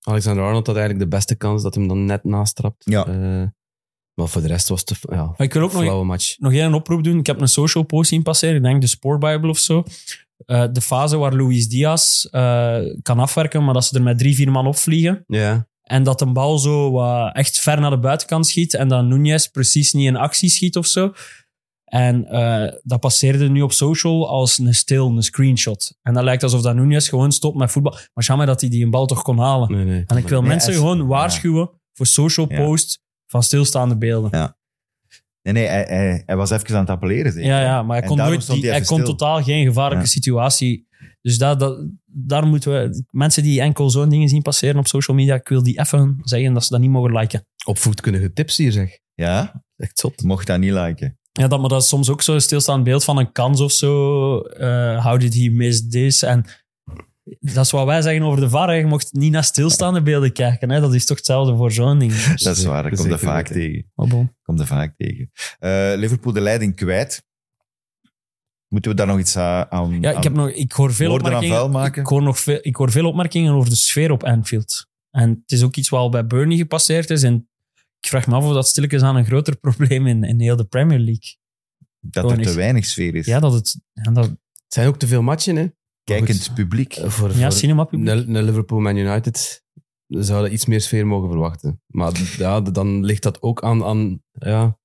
Alexander Arnold had eigenlijk de beste kans dat hem dan net naast trapt.
Ja.
Eh, maar voor de rest was het een ja,
Maar ik wil ook nog
flauwe match.
nog één oproep doen. Ik heb een social post zien passeren, ik denk de Sportbible of zo. Eh, de fase waar Luis Diaz eh, kan afwerken, maar dat ze er met drie, vier man opvliegen.
Ja.
En dat een bal zo wat echt ver naar de buitenkant schiet en dat Nunez precies niet in actie schiet of zo. En eh, dat passeerde nu op social als een stil, een screenshot. En dat lijkt alsof dat Nunez gewoon stopt met voetbal. Maar jammer dat hij die een bal toch kon halen.
Nee, nee.
En ik wil
Ja,
mensen
echt.
gewoon waarschuwen voor social
Ja.
posts van stilstaande beelden.
Nee, nee, hij, hij, hij was even aan het appelleren. zeker.
Ja, ja maar hij
En
kon,
daarom
nooit
stond
die,
hij
hij
even
kon
stil.
totaal geen gevaarlijke
Ja.
situatie Dus dat, dat, daar moeten we... Mensen die enkel zo'n dingen zien passeren op social media, ik wil die even zeggen dat ze dat niet mogen liken.
Opvoedkundige tips hier, zeg.
Ja,
Echt zot.
mocht dat niet liken.
Ja, dat, maar dat is soms ook zo'n stilstaand beeld van een kans of zo. eh how did he miss this? En dat is wat wij zeggen over de VAR. hè. Je mocht niet naar stilstaande beelden kijken. Hè. Dat is toch hetzelfde voor zo'n ding. Dus,
Dat is waar, ik kom
Zeker
dat vaak
weten.
tegen.
maar bon.
Ik kom dat vaak tegen. Eh, Liverpool de leiding kwijt. Moeten we daar nog iets aan... aan-
Ja, ik, heb
aan-
nog, ik hoor veel
Woorden aan vuil
opmerkingen.
maken.
Ik hoor, nog veel, ik hoor veel opmerkingen over de sfeer op Anfield. En het is ook iets wat al bij Burnley gepasseerd is. En ik vraag me af of dat stilletjes aan een groter probleem in, in heel de Premier League.
dat er
gewoon
te
is-
weinig sfeer is.
Ja, dat het... Ja, dat,
Het zijn ook te veel matchen, hè?
Kijkend
Goed.
publiek.
Eh,
ja
Voor, voor
cinemapubliek.
een- een Liverpool Man United zouden iets meer sfeer mogen verwachten. Maar ja, dan ligt dat ook aan, aan, ja,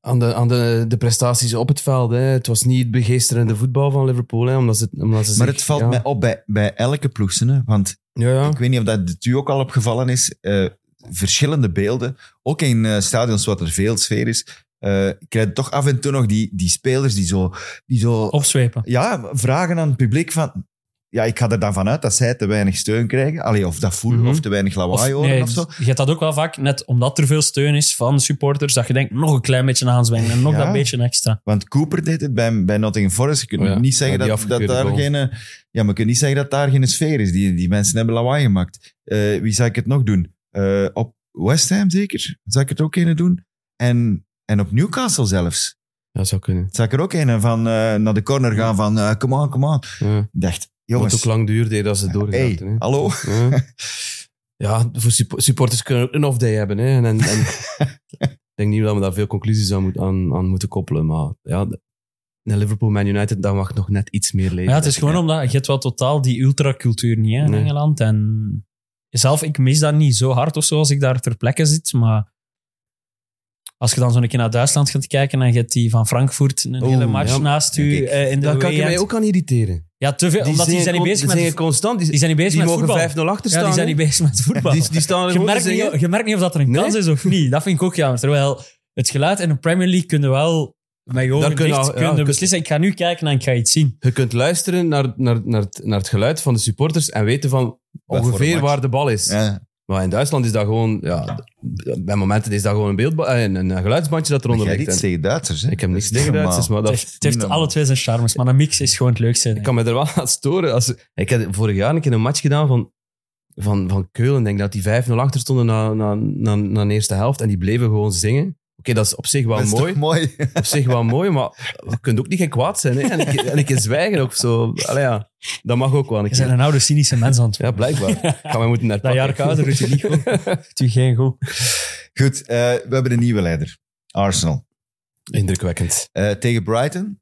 aan, de, aan de, de prestaties op het veld. Hè. Het was niet het begeesterende voetbal van Liverpool, hè, omdat ze, omdat ze
Maar
zich-
het valt
ja.
mij op bij, bij elke ploeg, hè, want
Ja, ja.
ik weet niet of dat het u ook al opgevallen is. eh, verschillende beelden, ook in eh, stadions waar er veel sfeer is, eh krijg je toch af en toe nog die, die spelers die zo, die zo
Oh. Opzwepen.
ja, vragen aan het publiek van... Ja, ik ga er dan vanuit dat zij te weinig steun krijgen. Allee, of dat voelen,
Mhm.
of te weinig
Of,
lawaai horen
nee,
of zo.
je hebt dat ook wel vaak, net omdat er veel steun is van supporters, dat je denkt nog een klein beetje aanzwengen en nog
Ja.
dat beetje extra.
Want Cooper deed het bij, bij Nottingham Forest. Je kunt
Oh ja,
niet zeggen
ja, die
dat, dat
afgekeurde
daar
goal.
geen... eh, Ja, maar je kunt niet zeggen dat daar geen sfeer is. Die, die mensen hebben lawaai gemaakt. Eh, wie zou ik het nog doen? Eh, op West Ham zeker? Zou ik het ook een doen? En, en op Newcastle zelfs.
ja, zou kunnen.
Zou ik er ook een van eh, naar de corner gaan van... eh come on, come on.
Ja.
Ik dacht,
Wat ook
jongens...
lang duurde dat ze het doorgezet
hey,
hè.
hallo?
Ja. Ja, voor suppo- supporters kunnen ook een off-day hebben. Hè? En, en, en ik denk niet dat we daar veel conclusies aan, moet, aan, aan moeten koppelen. Maar ja, de- de Liverpool, Man United, daar mag nog net iets meer leven.
Maar ja, het is gewoon omdat je hebt wel totaal die ultracultuur niet hè, in
Nee.
Engeland. En zelf, ik mis dat niet zo hard of zo als ik daar ter plekke zit. Maar als je dan zo'n keer naar Duitsland gaat kijken en je hebt die van Frankfurt een
Oeh,
hele match
ja.
naast
Ja,
u
kijk.
eh, in de
Daar kan je
way-end.
mij ook aan irriteren.
Ja, te veel, omdat die zijn niet
con-
bezig
die
met
zijn constant. Die,
die zijn niet bezig
die
met
mogen
voetbal.
5-0 achter staan.
Ja, die zijn niet bezig met voetbal.
die, die staan er
je
gewoon te
merkt,
zingen.
niet, je merkt niet of dat er een
Nee?
kans is of niet. Dat vind ik ook jammer. Terwijl het geluid in de Premier League kunnen wel met je ogen
kun je
dicht
al- ja,
kunnen
kun-
beslissen. Ik ga nu kijken en ik ga iets zien.
Je kunt luisteren naar, naar, naar, het, naar het geluid van de supporters en weten van
Wat voor
ongeveer
match.
waar de bal is.
Ja,
Maar in Duitsland is dat gewoon... Ja, bij momenten is dat gewoon een, beeldba- eh, een, een geluidsbandje dat eronder
jij
ligt.
iets
En
tegen Duitsers, hè?
Ik
Dat
heb niks
is
tegen
niet
Duitsers,
normaal.
maar
het
dat,
heeft, het heeft
normaal.
alle twee zijn charmes, maar een mix is gewoon het leukste. denk
Ik
ik.
kan me er wel aan storen. Als, ik heb vorig jaar een keer een match gedaan van, van, van Keulen. denk dat die 5-0 achter stonden na, na, na, na de eerste helft. En die bleven gewoon zingen. Oké, dat is op zich wel
Dat is toch
mooi.
mooi.
Op zich wel mooi, maar je kunt ook niet geen kwaad zijn. Hè? En, ik, en ik kan zwijgen ook zo. Allee, ja, dat mag ook wel. Een
Je bent
keer.
een oude cynische mens aan het
Ja, blijkbaar. Gaan wij moeten naar
Dat jaar kouder doet je niet goed. Doet je geen goed.
Goed, eh, we hebben een nieuwe leider. Arsenal.
Indrukwekkend.
Eh, tegen Brighton.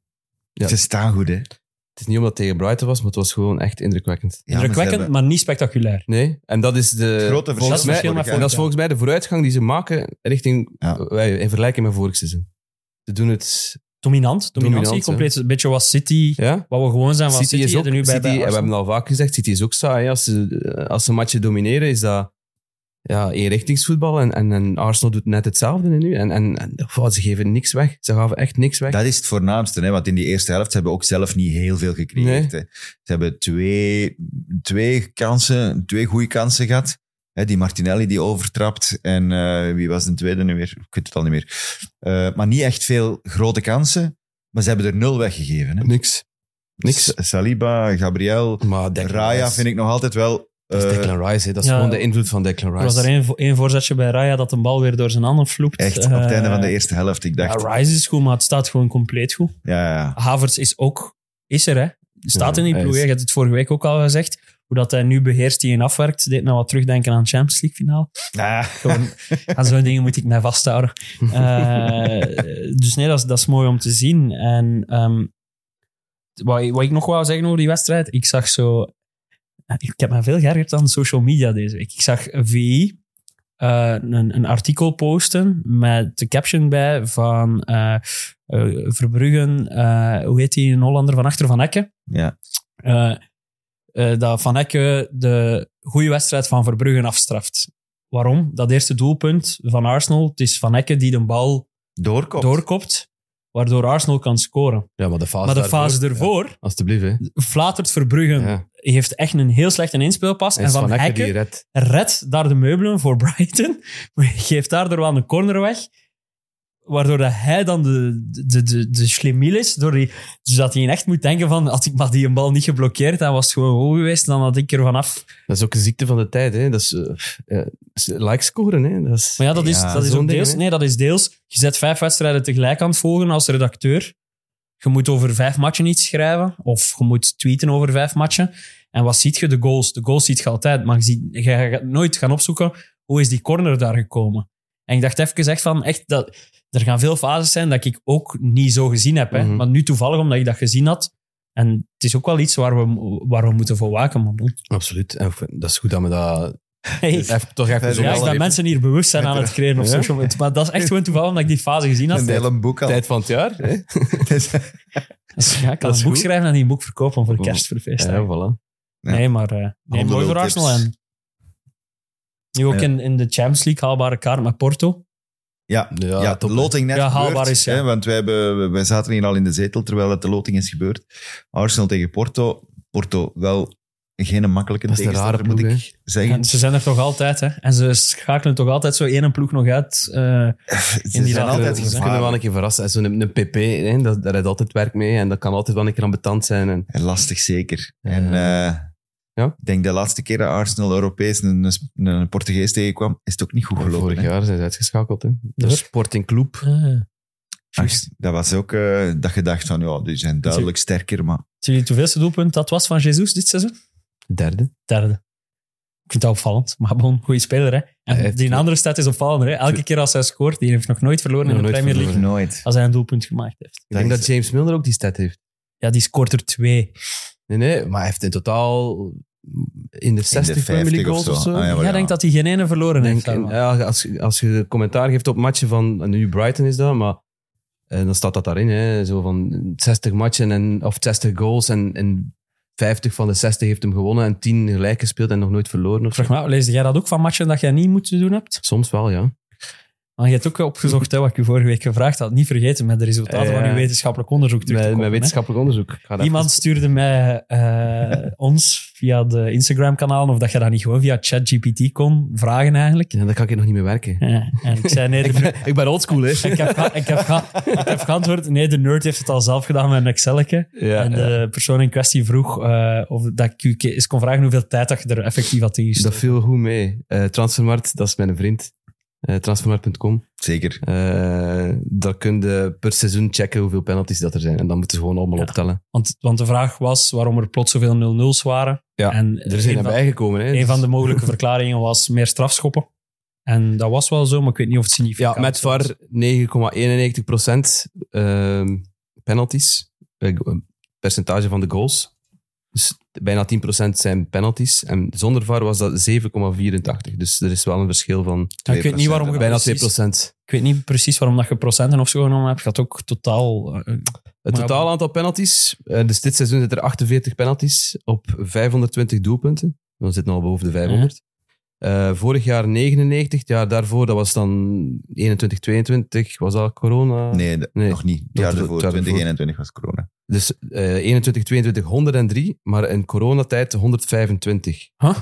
Ja.
Ze staan goed, hè? Ja, maar ze
Het is niet omdat het tegen Brighton was, maar het was gewoon echt indrukwekkend.
Indrukwekkend,
hebben
maar niet spectaculair.
Nee, en dat is de...
het grote
volgens
verschil.
mij-
vorig
maar
jaar.
En dat is volgens mij de vooruitgang die ze maken richting,
Ja.
wij- in vergelijking met vorig seizoen. Ze doen het...
Dominant, dominantie,
Dominant,
compleet. Een beetje was City,
Ja?
wat we gewoon zijn van City.
City is ook,
er nu bij,
City,
bij
en we
Arsenal.
hebben het al vaak gezegd, City is ook saai. hè. Als ze, als ze matchen domineren, is dat ja, eenrichtingsvoetbal. En, en, en Arsenal doet net hetzelfde nu. En, en, en goh, ze geven niks weg. Ze gaven echt niks weg.
Dat is het voornaamste, hè? want in die eerste helft ze hebben ook zelf niet heel veel gecreëerd. Hè? Ze hebben twee, twee kansen, twee goede kansen gehad. Hè, die Martinelli die overtrapt en eh, wie was de tweede nu weer? Ik weet het al niet meer. Eh, maar niet echt veel grote kansen, maar ze hebben er nul weggegeven. Hè?
Niks. Niks.
S- Saliba, Gabriel,
Maar
Raya vind ik nog altijd wel...
Dat is
eh,
Declan Rice, hè. dat is
Ja.
gewoon de invloed van Declan
Er
Rice.
was er één, vo- één voorzetje bij Raya dat een bal weer door zijn handen vloept.
Echt, op het einde van de
Eh,
eerste helft. Ik dacht,
Ja, Rice is goed, maar het staat gewoon compleet goed.
ja, ja.
Havertz is ook, is er hè. Staat
Ja,
in die
hij
ploeg. hè.
is-
Je hebt het vorige week ook al gezegd. Hoe dat hij nu beheerst die en afwerkt, deed me wat terugdenken aan het Champions League finale.
Ja.
Gewoon, aan zo'n dingen moet ik mij vasthouden. Eh, dus nee, dat is, dat is mooi om te zien. En ehm, wat, wat ik nog wou zeggen over die wedstrijd, ik zag zo... Ik heb me veel geërgerd aan social media deze week. Ik zag VI eh, een, een artikel posten met de caption bij van eh, eh, Verbruggen, eh, hoe heet die, een Hollander van achter Van Ekke.
Ja.
Eh, eh, dat Van Ekke de goede wedstrijd van Verbruggen afstraft. Waarom? Dat eerste doelpunt van Arsenal, het is Van Ekke die de bal
Doorkomt.
doorkopt. waardoor Arsenal kan scoren.
Ja, maar de fase,
maar de
daarvoor-
fase ervoor, Um,
Alsjeblieft, hè.
flatert Verbruggen,
Ja.
heeft echt een heel slechte inspeelpas. En Van,
Ecker
Hekken
die redt.
redt daar de meubelen voor Brighton, geeft daardoor wel een corner weg, waardoor dat hij dan de, de, de, de schlemiel is, door die, dus dat hij echt moet denken van, had ik maar die een bal niet geblokkeerd, dan was het gewoon goal geweest, dan had ik er vanaf.
Dat is ook een ziekte van de tijd, hè. Dat is, eh, eh, is like scoren, hè. Dat is,
Maar ja, dat is,
Ja,
dat is
zo'n
ook
ding,
deels,
hè.
nee, dat is deels, je zet vijf wedstrijden tegelijk aan het volgen als redacteur. Je moet over vijf matchen iets schrijven, of je moet tweeten over vijf matchen. En wat ziet je? De goals. De goals ziet je altijd, maar je, ziet, je gaat nooit gaan opzoeken hoe is die corner daar gekomen. En ik dacht even echt van, echt, dat, er gaan veel fases zijn dat ik ook niet zo gezien heb. Hè.
Mhm.
Maar nu toevallig, omdat ik dat gezien had. En het is ook wel iets waar we, waar we moeten voor waken, man.
Absoluut. En dat is goed dat we dat...
Hey,
Even, toch even zo
ja,
Dus wel
ik dat
even-
mensen hier bewust zijn aan het creëren op
Ja.
social media. Maar dat is echt gewoon toevallig omdat ik die fase gezien had.
Een
Dat
hele boek al.
tijd van het jaar, hè.
Dus-
is- Ja, ik kan
Dat is
een boek
goed.
schrijven en die boek verkopen voor kerstverfeest.
Ja, voilà.
Ja.
Nee, maar eh nee, mooi voor
tips.
Arsenal. En nu ook
Ja.
in, in de Champions League haalbare kaart met Porto.
Ja,
Ja,
ja, de
top, hè.
loting net
Ja, haalbaar
gebeurd,
is, ja.
hè, want wij, hebben, wij zaten hier al in de zetel terwijl het de loting is gebeurd. Arsenal tegen Porto. Porto wel geen makkelijke
Dat is een
tegenstander,
rare
moet
ploeg,
ik zeggen.
En ze zijn er toch altijd, hè? En ze schakelen toch altijd zo één ploeg nog uit. eh,
Ze zijn
inderdaad.
altijd
Ze
Ze kunnen wel
gevaarlijk
een keer verrassen. Zo'n een, PP, hè, dat, daar heeft altijd werk mee. En dat kan altijd wel een keer ambetant zijn. En,
en lastig, zeker.
Ja.
En eh,
Ja?
ik denk de laatste keer dat Arsenal Europees een, een Portugees tegenkwam, is het ook niet goed gelopen.
vorig
hè.
jaar zijn ze uitgeschakeld. Hè.
Door?
De Sporting Club.
eh.
Juist, Dat was ook eh, dat je dacht van, ja, die zijn duidelijk sterker, maar
Zie je het hoeveelste doelpunt dat was van Jesus dit seizoen?
Derde.
Derde. Ik vind dat opvallend, maar bon, goede speler. Hè?
Hij
En
heeft-
die andere stad is opvallender. Hè? Elke keer als hij scoort, die heeft nog nooit verloren
Nog
in de
nooit
Premier League,
verloren.
nooit.
als hij een doelpunt gemaakt heeft.
Ik denk
Dat
dat
is-
James Milner ook die stat heeft.
Ja, die scoort er twee.
Nee, nee, maar hij heeft in totaal in de 60 Premier
50
League
of
goals of
zo.
zo.
Ah, ja,
Jij
maar ja.
denkt dat hij geen ene verloren
Denk-
heeft.
en,
daarvan.
ja, als, je- als je commentaar geeft op matchen van, en nu Brighton is dat, maar eh, dan staat dat daarin. Hè, zo van 60 matchen en, of 60 goals en, en 50 van de 60 heeft hem gewonnen en 10 gelijk gespeeld en nog nooit verloren. Of zo.
Vraag me, af, leesde jij dat ook van matchen dat jij niet moeten doen hebt?
Soms wel, ja.
Want je hebt ook opgezocht, hè, wat ik u vorige week gevraagd had. Niet vergeten met de resultaten
Ja, ja.
van uw wetenschappelijk onderzoek terug te
Met, met
koppelen, hè.
wetenschappelijk onderzoek. Ik ga dat
Iemand stuurde mij eh, ons via de Instagram-kanaal, of dat je dat niet gewoon via ChatGPT kon vragen eigenlijk.
even- Ja, dat kan ik hier nog niet mee werken.
Ja, en ik zei nee, de-
ik ben oldschool, hè.
ik, heb, ge- ik, heb, ge- ik heb geantwoord, nee, de nerd heeft het al zelf gedaan met een Excelke.
Ja,
en de persoon in kwestie vroeg eh, of dat ik u ke- eens kon vragen hoeveel tijd dat je er effectief had
dat
ingestoken.
viel goed mee. Eh, Transfermarkt, dat is mijn vriend. Eh, Transfermarkt.com.
Zeker.
Eh, dan kun je per seizoen checken hoeveel penalties dat er zijn. En dan moeten ze gewoon allemaal
Ja.
optellen.
Want, want de vraag was waarom er plots zoveel 0-0's waren.
Ja,
en
Er zijn
een van,
erbij gekomen. Hè. Dus-
een van de mogelijke verklaringen was meer strafschoppen. En dat was wel zo, maar ik weet niet of het significant
Ja, met
was.
VAR 9,91 procent ehm, penalties. Eh, percentage van de goals. Dus bijna 10 zijn penalties. En zonder VAR was dat 7,84. Dus er is wel een verschil van
Ja, ik weet niet waarom je
bijna 2
precies- Ik weet niet precies waarom dat je procenten of zo genomen hebt. Je had ook totaal... eh,
Het
Maar ja,
totaal aantal penalties, eh, dus dit seizoen zitten er 48 penalties op 520 doelpunten. We zitten al boven de 500. Eh, vorig jaar 99, het jaar daarvoor, dat was dan 21, 22, was dat corona?
Nee, de-
Nee.
nog niet. Ja,
het jaar
daarvoor,
ervoor.
2021 was corona.
Dus eh 21, 22, 103, maar in coronatijd 125.
huh?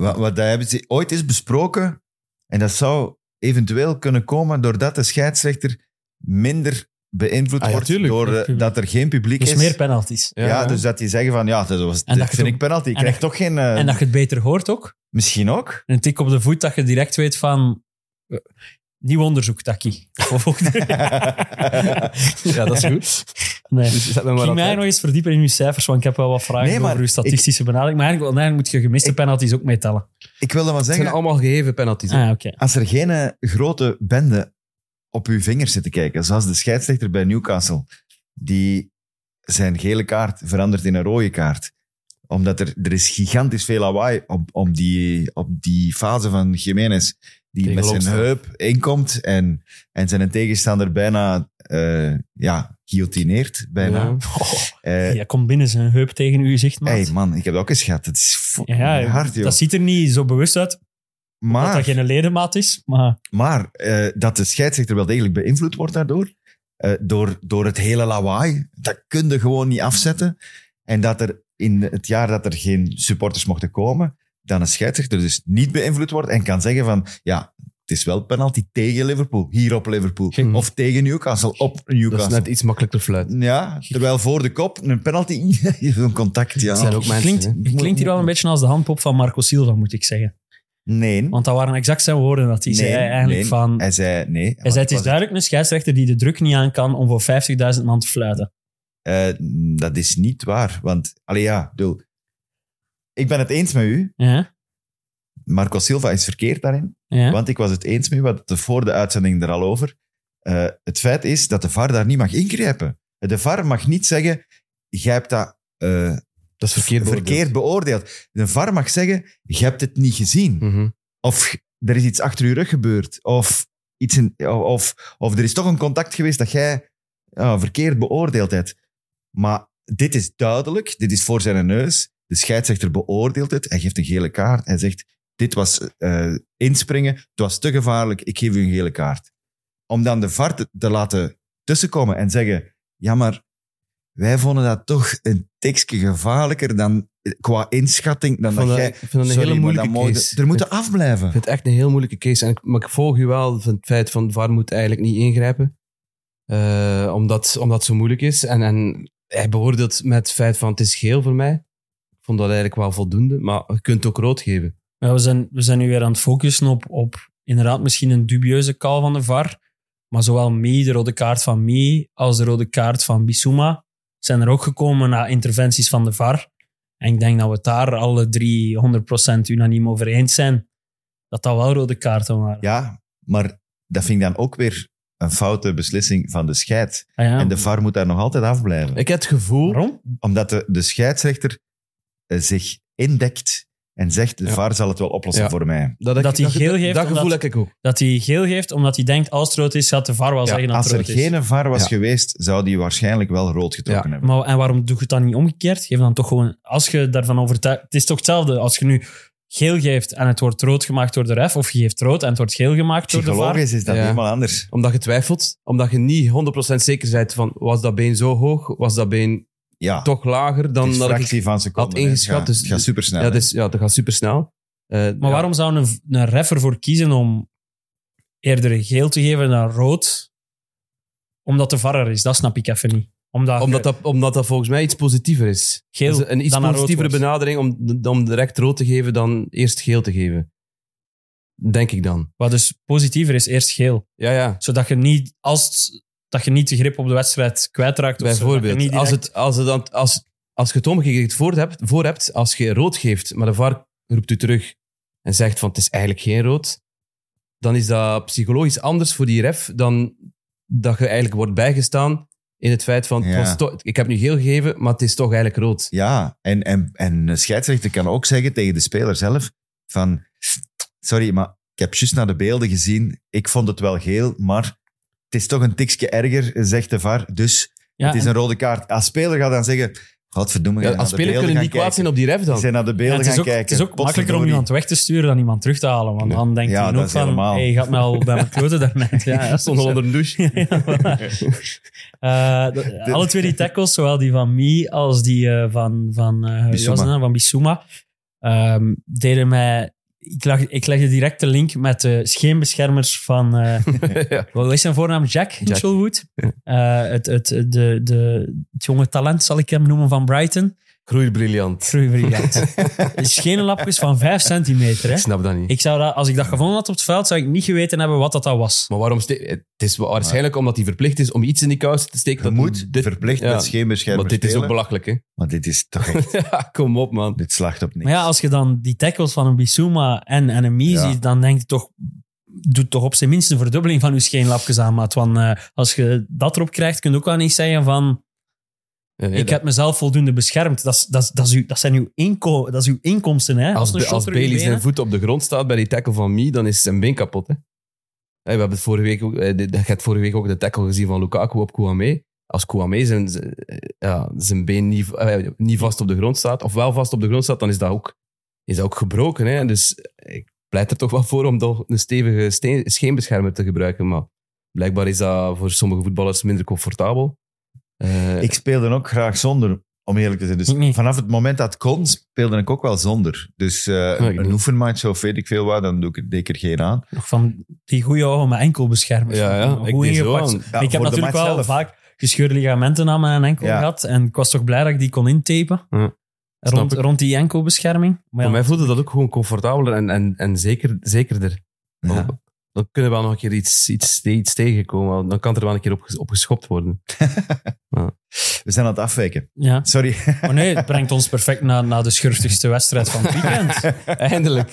Wat, wat dat hebben ze ooit is besproken. En dat zou eventueel kunnen komen doordat de scheidsrechter minder beïnvloed
Ah ja,
wordt
tuurlijk.
door eh,
Tuurlijk.
dat er geen publiek
Dus
is.
meer penalties.
ja, dus dat die zeggen van ja, dat was,
En
dit
dat je
vind
toch-
ik penalty. Ik
en
krijg
dat-
toch geen... eh,
En dat je het beter hoort ook.
Misschien ook.
een tik op de voet dat je direct weet van... eh, Nieuw onderzoek, Taki. Of ook-
Ja, dat is goed.
nee.
Dus zet me maar
Ik ging
aan
mij
het-
nog eens verdiepen in uw cijfers, want ik heb wel wat vragen
Nee, maar
over uw statistische benadering. Maar eigenlijk, want eigenlijk moet je gemiste penalties ook meetellen.
ik wilde maar
Het zijn
zeggen,
allemaal gegeven penalties. hè.
Ah, oké.
als er geen eh, grote bende op uw vingers zit te kijken, zoals de scheidsrechter bij Newcastle, die zijn gele kaart verandert in een rode kaart. Omdat er, er is gigantisch veel lawaai op, op, die, op die fase van Jiménez, die
Tegen
met zijn
Lobster.
heup inkomt en, en zijn tegenstander bijna eh ja, guillotineert. Bijna.
Ja.
Eh,
Ja, komt binnen zijn heup tegen uw gezicht, maat.
hey, man, ik heb dat ook eens gehad. Het is fucking
ja,
hard, joh.
dat ziet er niet zo bewust uit, dat
maar
dat geen ledemaat is. Maar
Maar eh, dat de scheidsrechter wel degelijk beïnvloed wordt daardoor. eh, door, door het hele lawaai. Dat kun je gewoon niet afzetten. En dat er in het jaar dat er geen supporters mochten komen, dan een scheidsrechter dus niet beïnvloed wordt en kan zeggen van, ja, het is wel penalty tegen Liverpool, hier op Liverpool.
Geen-
Of tegen Newcastle, op
Dat is
Newcastle.
net iets makkelijker fluiten.
Ja, terwijl voor de kop een penalty, zo'n contact,
Het zijn
ja.
ook mensen.
klinkt,
hè.
je klinkt hier wel een beetje als de handpop van Marco Silva, moet ik zeggen.
Nee.
Want dat waren exact zijn woorden dat hij
Nee,
zei eigenlijk
nee.
van...
Hij zei nee.
Hij zei, het is
Was
duidelijk een scheidsrechter die de druk niet aan kan om voor 50.000 man te fluiten.
Eh, dat is niet waar. Want, allee ja, ik bedoel, ik ben het eens met u.
Ja,
Marco Silva is verkeerd daarin.
ja.
Want ik was het eens met u, we hadden het voor de uitzending er al over. Eh, het feit is dat de VAR daar niet mag ingrijpen. De VAR mag niet zeggen, jij hebt dat eh,
Dat is verkeerd. beoordeeld.
verkeerd beoordeeld. De VAR mag zeggen, je hebt het niet gezien.
Mhm.
Of er is iets achter je rug gebeurd. Of, iets in, of, of er is toch een contact geweest dat jij ah, verkeerd beoordeeld hebt. Maar dit is duidelijk. Dit is voor zijn neus. De scheidsrechter beoordeelt het. Hij geeft een gele kaart. Hij zegt, dit was eh, inspringen. Het was te gevaarlijk. Ik geef u een gele kaart. Om dan de VAR te, te laten tussenkomen en zeggen, ja, maar wij vonden dat toch een tikje gevaarlijker dan eh, qua inschatting dan
Ik vond
dat
dat,
jij...
ik vind dat een
Sorry,
hele
maar
moeilijke
dat mogen-
case.
Er moeten
Ik vind-
afblijven.
ik vind het echt een heel moeilijke case. En ik, maar ik volg u wel van het feit van VAR moet eigenlijk niet ingrijpen. Eh, omdat, omdat het zo moeilijk is. En, en hij beoordeelt met het feit van het is geel voor mij. Ik vond dat eigenlijk wel voldoende. Maar je kunt ook rood geven.
Ja, we, zijn, we zijn nu weer aan het focussen op, op inderdaad misschien een dubieuze call van de VAR. Maar zowel mee, de rode kaart van mee, als de rode kaart van Bissouma zijn er ook gekomen na interventies van de VAR. En ik denk dat we het daar alle drie 100% unaniem over eens zijn. Dat dat wel rode kaarten waren.
Ja, maar dat vind ik dan ook weer een foute beslissing van de scheid.
Ah ja.
En de VAR moet daar nog altijd afblijven.
Ik heb het gevoel...
Waarom?
Omdat de, de scheidsrechter eh, zich indekt en zegt, de
Ja.
VAR zal het wel oplossen
Ja.
voor mij.
Dat, ik-
Dat hij geel geeft,
Dat gevoel
omdat-
heb ik ook.
Dat hij geel geeft omdat hij denkt als het rood is, gaat de VAR wel
Ja,
zeggen dat
Als
het
er
rood is.
geen VAR was
Ja.
geweest, zou die waarschijnlijk wel rood getrokken
Ja.
hebben.
Maar, en waarom doe je het dan niet omgekeerd? Geef dan toch gewoon, als je daarvan overtuigd... Het is toch hetzelfde als je nu geel geeft en het wordt rood gemaakt door de ref, of je geeft rood en het wordt geel gemaakt door de VAR.
Psychologisch is dat
Ja.
helemaal anders.
Omdat je twijfelt. Omdat je niet 100% zeker bent van was dat been zo hoog? Was dat been
Ja,
toch lager
het
dan
is
dat ik...
fractie van seconden.
had
hè. Het
ingeschat,
gaat-
dus-
Het gaat supersnel.
Ja,
hè.
dus, ja, dat gaat supersnel. Eh,
Maar
ja.
waarom zou een, een ref ervoor kiezen om eerder geel te geven dan rood? Omdat de VAR er is, dat snap ik even niet. Omdat,
Omdat
je
dat, omdat dat volgens mij iets positiever is.
geel
Dus een iets
dan naar rood
positievere
wordt.
benadering om, om direct rood te geven dan eerst geel te geven. Denk ik dan.
Wat dus positiever is, eerst geel.
Ja, ja.
Zodat je niet, als het- dat je niet de grip op de wedstrijd kwijtraakt. of zo, dat je
Bijvoorbeeld,
niet
als,
direct-
het, als, het dan, als, als je het omgekeerd voor hebt, voor hebt, als je rood geeft, maar de VAR roept u terug en zegt van het is eigenlijk geen rood, dan is dat psychologisch anders voor die ref dan dat je eigenlijk wordt bijgestaan in het feit van het
Ja.
was toch- ik heb nu geel gegeven, maar het is toch eigenlijk rood.
Ja, en, en, en een scheidsrechter kan ook zeggen tegen de speler zelf van... Sorry, maar ik heb juist naar de beelden gezien. Ik vond het wel geel, maar het is toch een tikje erger, zegt de VAR. Dus
Ja,
het is
en-
een rode kaart. Als speler gaat dan zeggen... Godverdomme,
Ja,
ja,
als speler kunnen
die
niet kwaad zijn op die ref dan.
Ze zijn naar de beelden
Ja,
gaan
het, is ook,
kijken.
het is ook
Potverdorie.
makkelijker om iemand weg te sturen dan iemand terug te halen. Want
Ja.
dan denkt
Ja,
hij
dat
ook
is
van,
helemaal.
hey, je gaat me al bij mijn kloten daarnet. Ja, ja,
Zonder onder de douche.
Ja, voilà. Eh, dat- alle twee die tackles, zowel die van Mi als die eh, van, van, eh, wie was
Bissouma.
het nou? van Bissouma, ehm, deden mij... Ik, lag, ik legde direct de link met de scheenbeschermers van... eh,
Ja.
wat is zijn voornaam? Jack Hitchelwood. Eh, het, het, de, de, het jonge talent, zal ik hem noemen, van Brighton.
Groeit briljant.
Groeibriljant. Schenenlapjes van 5 centimeter. Hè?
Ik snap dat niet.
Ik zou dat, als ik dat gevonden had op het veld, zou ik niet geweten hebben wat dat, dat was.
Maar waarom... ste- Het is waarschijnlijk omdat hij verplicht is om iets in die kous te steken.
Je
dat
moet
dit-
verplicht
ja.
met scheenbeschermer
Want dit is ook
spelen.
belachelijk, hè?
Want dit is toch echt...
Ja, kom op, man.
Dit slaagt op niks.
Maar ja, als je dan die tackles van een Bissouma en, en een Mie
Ja.
ziet, dan denk je toch... Doet toch op zijn minst een verdubbeling van je scheenlapjes aan, maat. Want eh, als je dat erop krijgt, kun je ook wel niet zeggen van...
Nee, nee,
ik heb mezelf voldoende beschermd. Dat, is- dat, is- dat, is uw- dat zijn uw, inko dat is uw inkomsten, hè.
dat- als
een
Be-
shot
als
door je
Bailey
benen-
zijn voet op de grond staat bij die tackle van Mie, dan is zijn been kapot. Hè? Hey, we hebben het vorige week ook, eh, dit- je hebt vorige week ook de tackle gezien van Lukaku op Kouame. Als Kouame zijn, zijn- eh, ja, zijn been niet, eh, niet vast op de grond staat, of wel vast op de grond staat, dan is dat ook, is dat ook gebroken. Hè? Dus ik pleit er toch wel voor om toch een stevige steen, scheenbeschermer te gebruiken. Maar Blijkbaar is dat voor sommige voetballers minder comfortabel. Eh,
Ik speelde ook graag zonder, om eerlijk te zijn. Dus
Ik niet.
vanaf het moment dat het kon, speelde ik ook wel zonder. Dus eh,
ik
een
niet.
oefenmatch of weet ik veel wat, dan doe ik, deed ik er geen aan.
Nog van die goede ogen met enkelbeschermers.
ja, ja, ik
Goed
deed zo
ingepakt.
aan.
Ja, voor
ik heb
de
natuurlijk
match
wel
zelf.
vaak gescheurde ligamenten aan mijn enkel
Ja.
gehad. En ik was toch blij dat ik die kon intapen.
Ja.
Rond,
Hm. Snap ik.
rond die enkelbescherming. Maar
Voor
ja,
mij voelde dat ook gewoon comfortabeler en, en, en zeker, zekerder.
Oh.
Ja.
Dan- Dan kunnen we wel nog een keer iets, iets, iets tegenkomen. Dan kan er wel een keer op, ges- op geschopt worden.
We zijn aan het afwijken.
ja.
Sorry. eh,
Maar nee, het brengt ons perfect naar, naar de schurftigste wedstrijd van het weekend.
Eindelijk.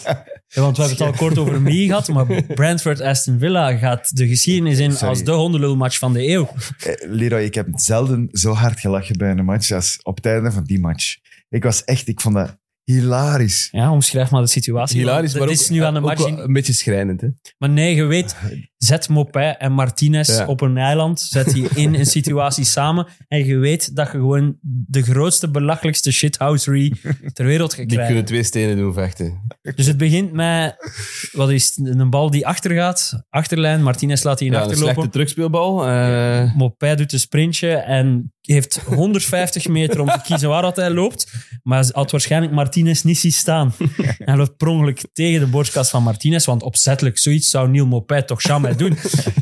Ja, want we hebben het al kort over me gehad, maar Brentford-Aston Villa gaat de geschiedenis in
Sorry.
als de hondenlulmatch van de eeuw.
Eh, Leroy, ik heb zelden zo hard gelachen bij een match als op het einde van die match. Ik was echt, ik vond dat hilarisch.
Ja, omschrijf maar de situatie.
Hilarisch,
Want
maar ook,
dit is nu aan de
ook
match.
wel een beetje schrijnend. Hè?
Maar nee, je weet, zet Mopé en Martinez
Ja.
op een eiland, zet die in een situatie samen en je weet dat je gewoon de grootste, belachelijkste shithousery ter wereld gaat
Die
krijgen.
kunnen twee stenen doen vechten.
Dus het begint met, wat is het, een bal die achtergaat, achterlijn, Martinez laat die in
Ja, een
achterlopen.
slechte terugspeelbal. eh,
Mopé doet een sprintje en heeft 150 meter om te kiezen waar dat hij loopt. Maar ze had waarschijnlijk Martinez niet zien staan. En hij loopt per ongeluk tegen de borstkas van Martinez, want opzettelijk zoiets zou Neil Mopé toch jamais doen.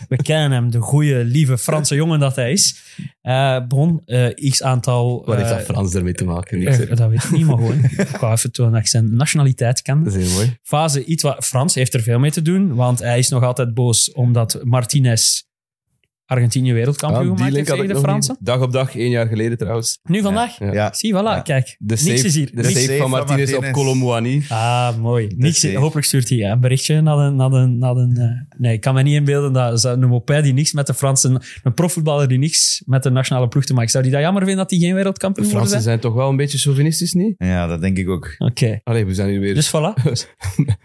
We kennen hem, de goede, lieve Franse jongen dat hij is. Eh bon, eh, x aantal...
wat heeft
eh,
dat Frans ermee te maken? Niks,
eh,
hè.
dat weet ik niet, maar gewoon. Ik wou even tonen dat ik zijn nationaliteit kende
Dat is heel mooi.
fase iets wat... Frans heeft er veel mee te doen, want hij is nog altijd boos omdat Martinez Argentinië wereldkampioen
Ah,
gemaakt heeft tegen de
nog
Fransen.
niet. Dag op dag, één jaar geleden trouwens.
Nu vandaag?
Ja.
Ja.
Zie, voilà,
Ja.
kijk.
De
Niks is
save,
hier.
de
Niks.
save van Martinez op
Martinez.
Colomboani.
Ah, mooi. Niks,
safe.
hopelijk stuurt hij een berichtje naar een... Naar een, naar een eh, nee, ik kan me niet inbeelden dat zou een Mopé die niks met de Fransen... Een profvoetballer die niks met de nationale ploeg te maken... Zou die dat jammer vinden dat hij geen
De
wereldkampioen wordt?
Fransen zijn toch wel een beetje chauvinistisch, niet?
Ja, dat denk ik ook.
Oké.
Allee, we zijn hier weer
Dus voilà.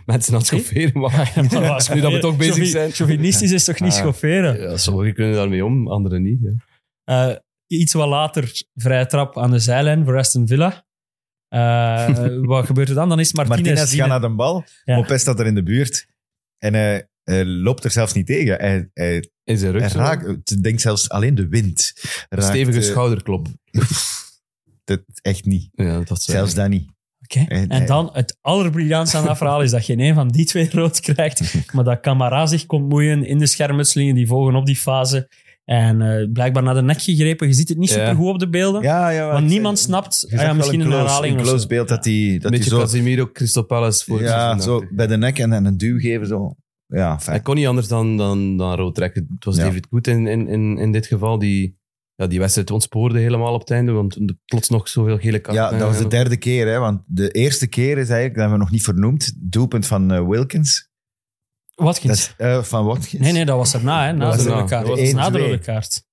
mensen aan het schofferen.
Ah,
Maar nu dat we toch bezig zijn.
Chauvinistisch is toch niet
Ah.
schofferen?
Ja, sommigen kunnen daarmee om, anderen niet. Ja.
Eh, iets wat later vrije trap aan de zijlijn voor Aston Villa. Eh, wat gebeurt er dan? Dan is Martinez...
Martinez
die-
gaat naar de bal.
Ja.
Mopes staat er in de buurt. En hij, hij loopt er zelfs niet tegen. Hij, hij,
In zijn rug.
hij
zo.
raakt, het denkt zelfs alleen de wind.
Een
Raakt,
stevige
eh,
schouderklop.
Dat echt niet.
Ja, dat eh, was
Zelfs dat niet.
Oké.
En-
En dan, het allerbriljantste aan dat verhaal is dat geen een van die twee rood krijgt, maar dat Camara zich komt moeien in de schermutselingen die volgen op die fase. En eh, blijkbaar naar de nek gegrepen. Je ziet het niet
Ja.
supergoed op de beelden,
Ja, ja,
want
ik-
niemand
je
snapt...
zag
Ah ja,
wel
misschien een,
close-
herhaling
Een
of
close
zo.
beeld dat hij dat
Een beetje
die zo,
Casemiro, Crystal Palace. Voor
ja,
seizoen
zo
achter.
bij de nek en, en een duw geven. Zo. Ja, fijn.
Hij kon niet anders dan, dan, dan rood trekken. Het was
Ja.
David Goed in, in, in, in dit geval. Die, ja, die wedstrijd ontspoorde helemaal op het einde, want de- plots nog zoveel gele
Ja,
kaarten.
dat was de derde keer. Hè, want de eerste keer is eigenlijk, dat hebben we nog niet vernoemd, doelpunt van eh, Wilkins.
Watkins.
Dat is, eh, van Watkins.
Nee, nee, dat was erna, hè. Na
Dat was
de rode
erna.
kaart.
Dat
Dat
was
is na de
1-2.
rode kaart.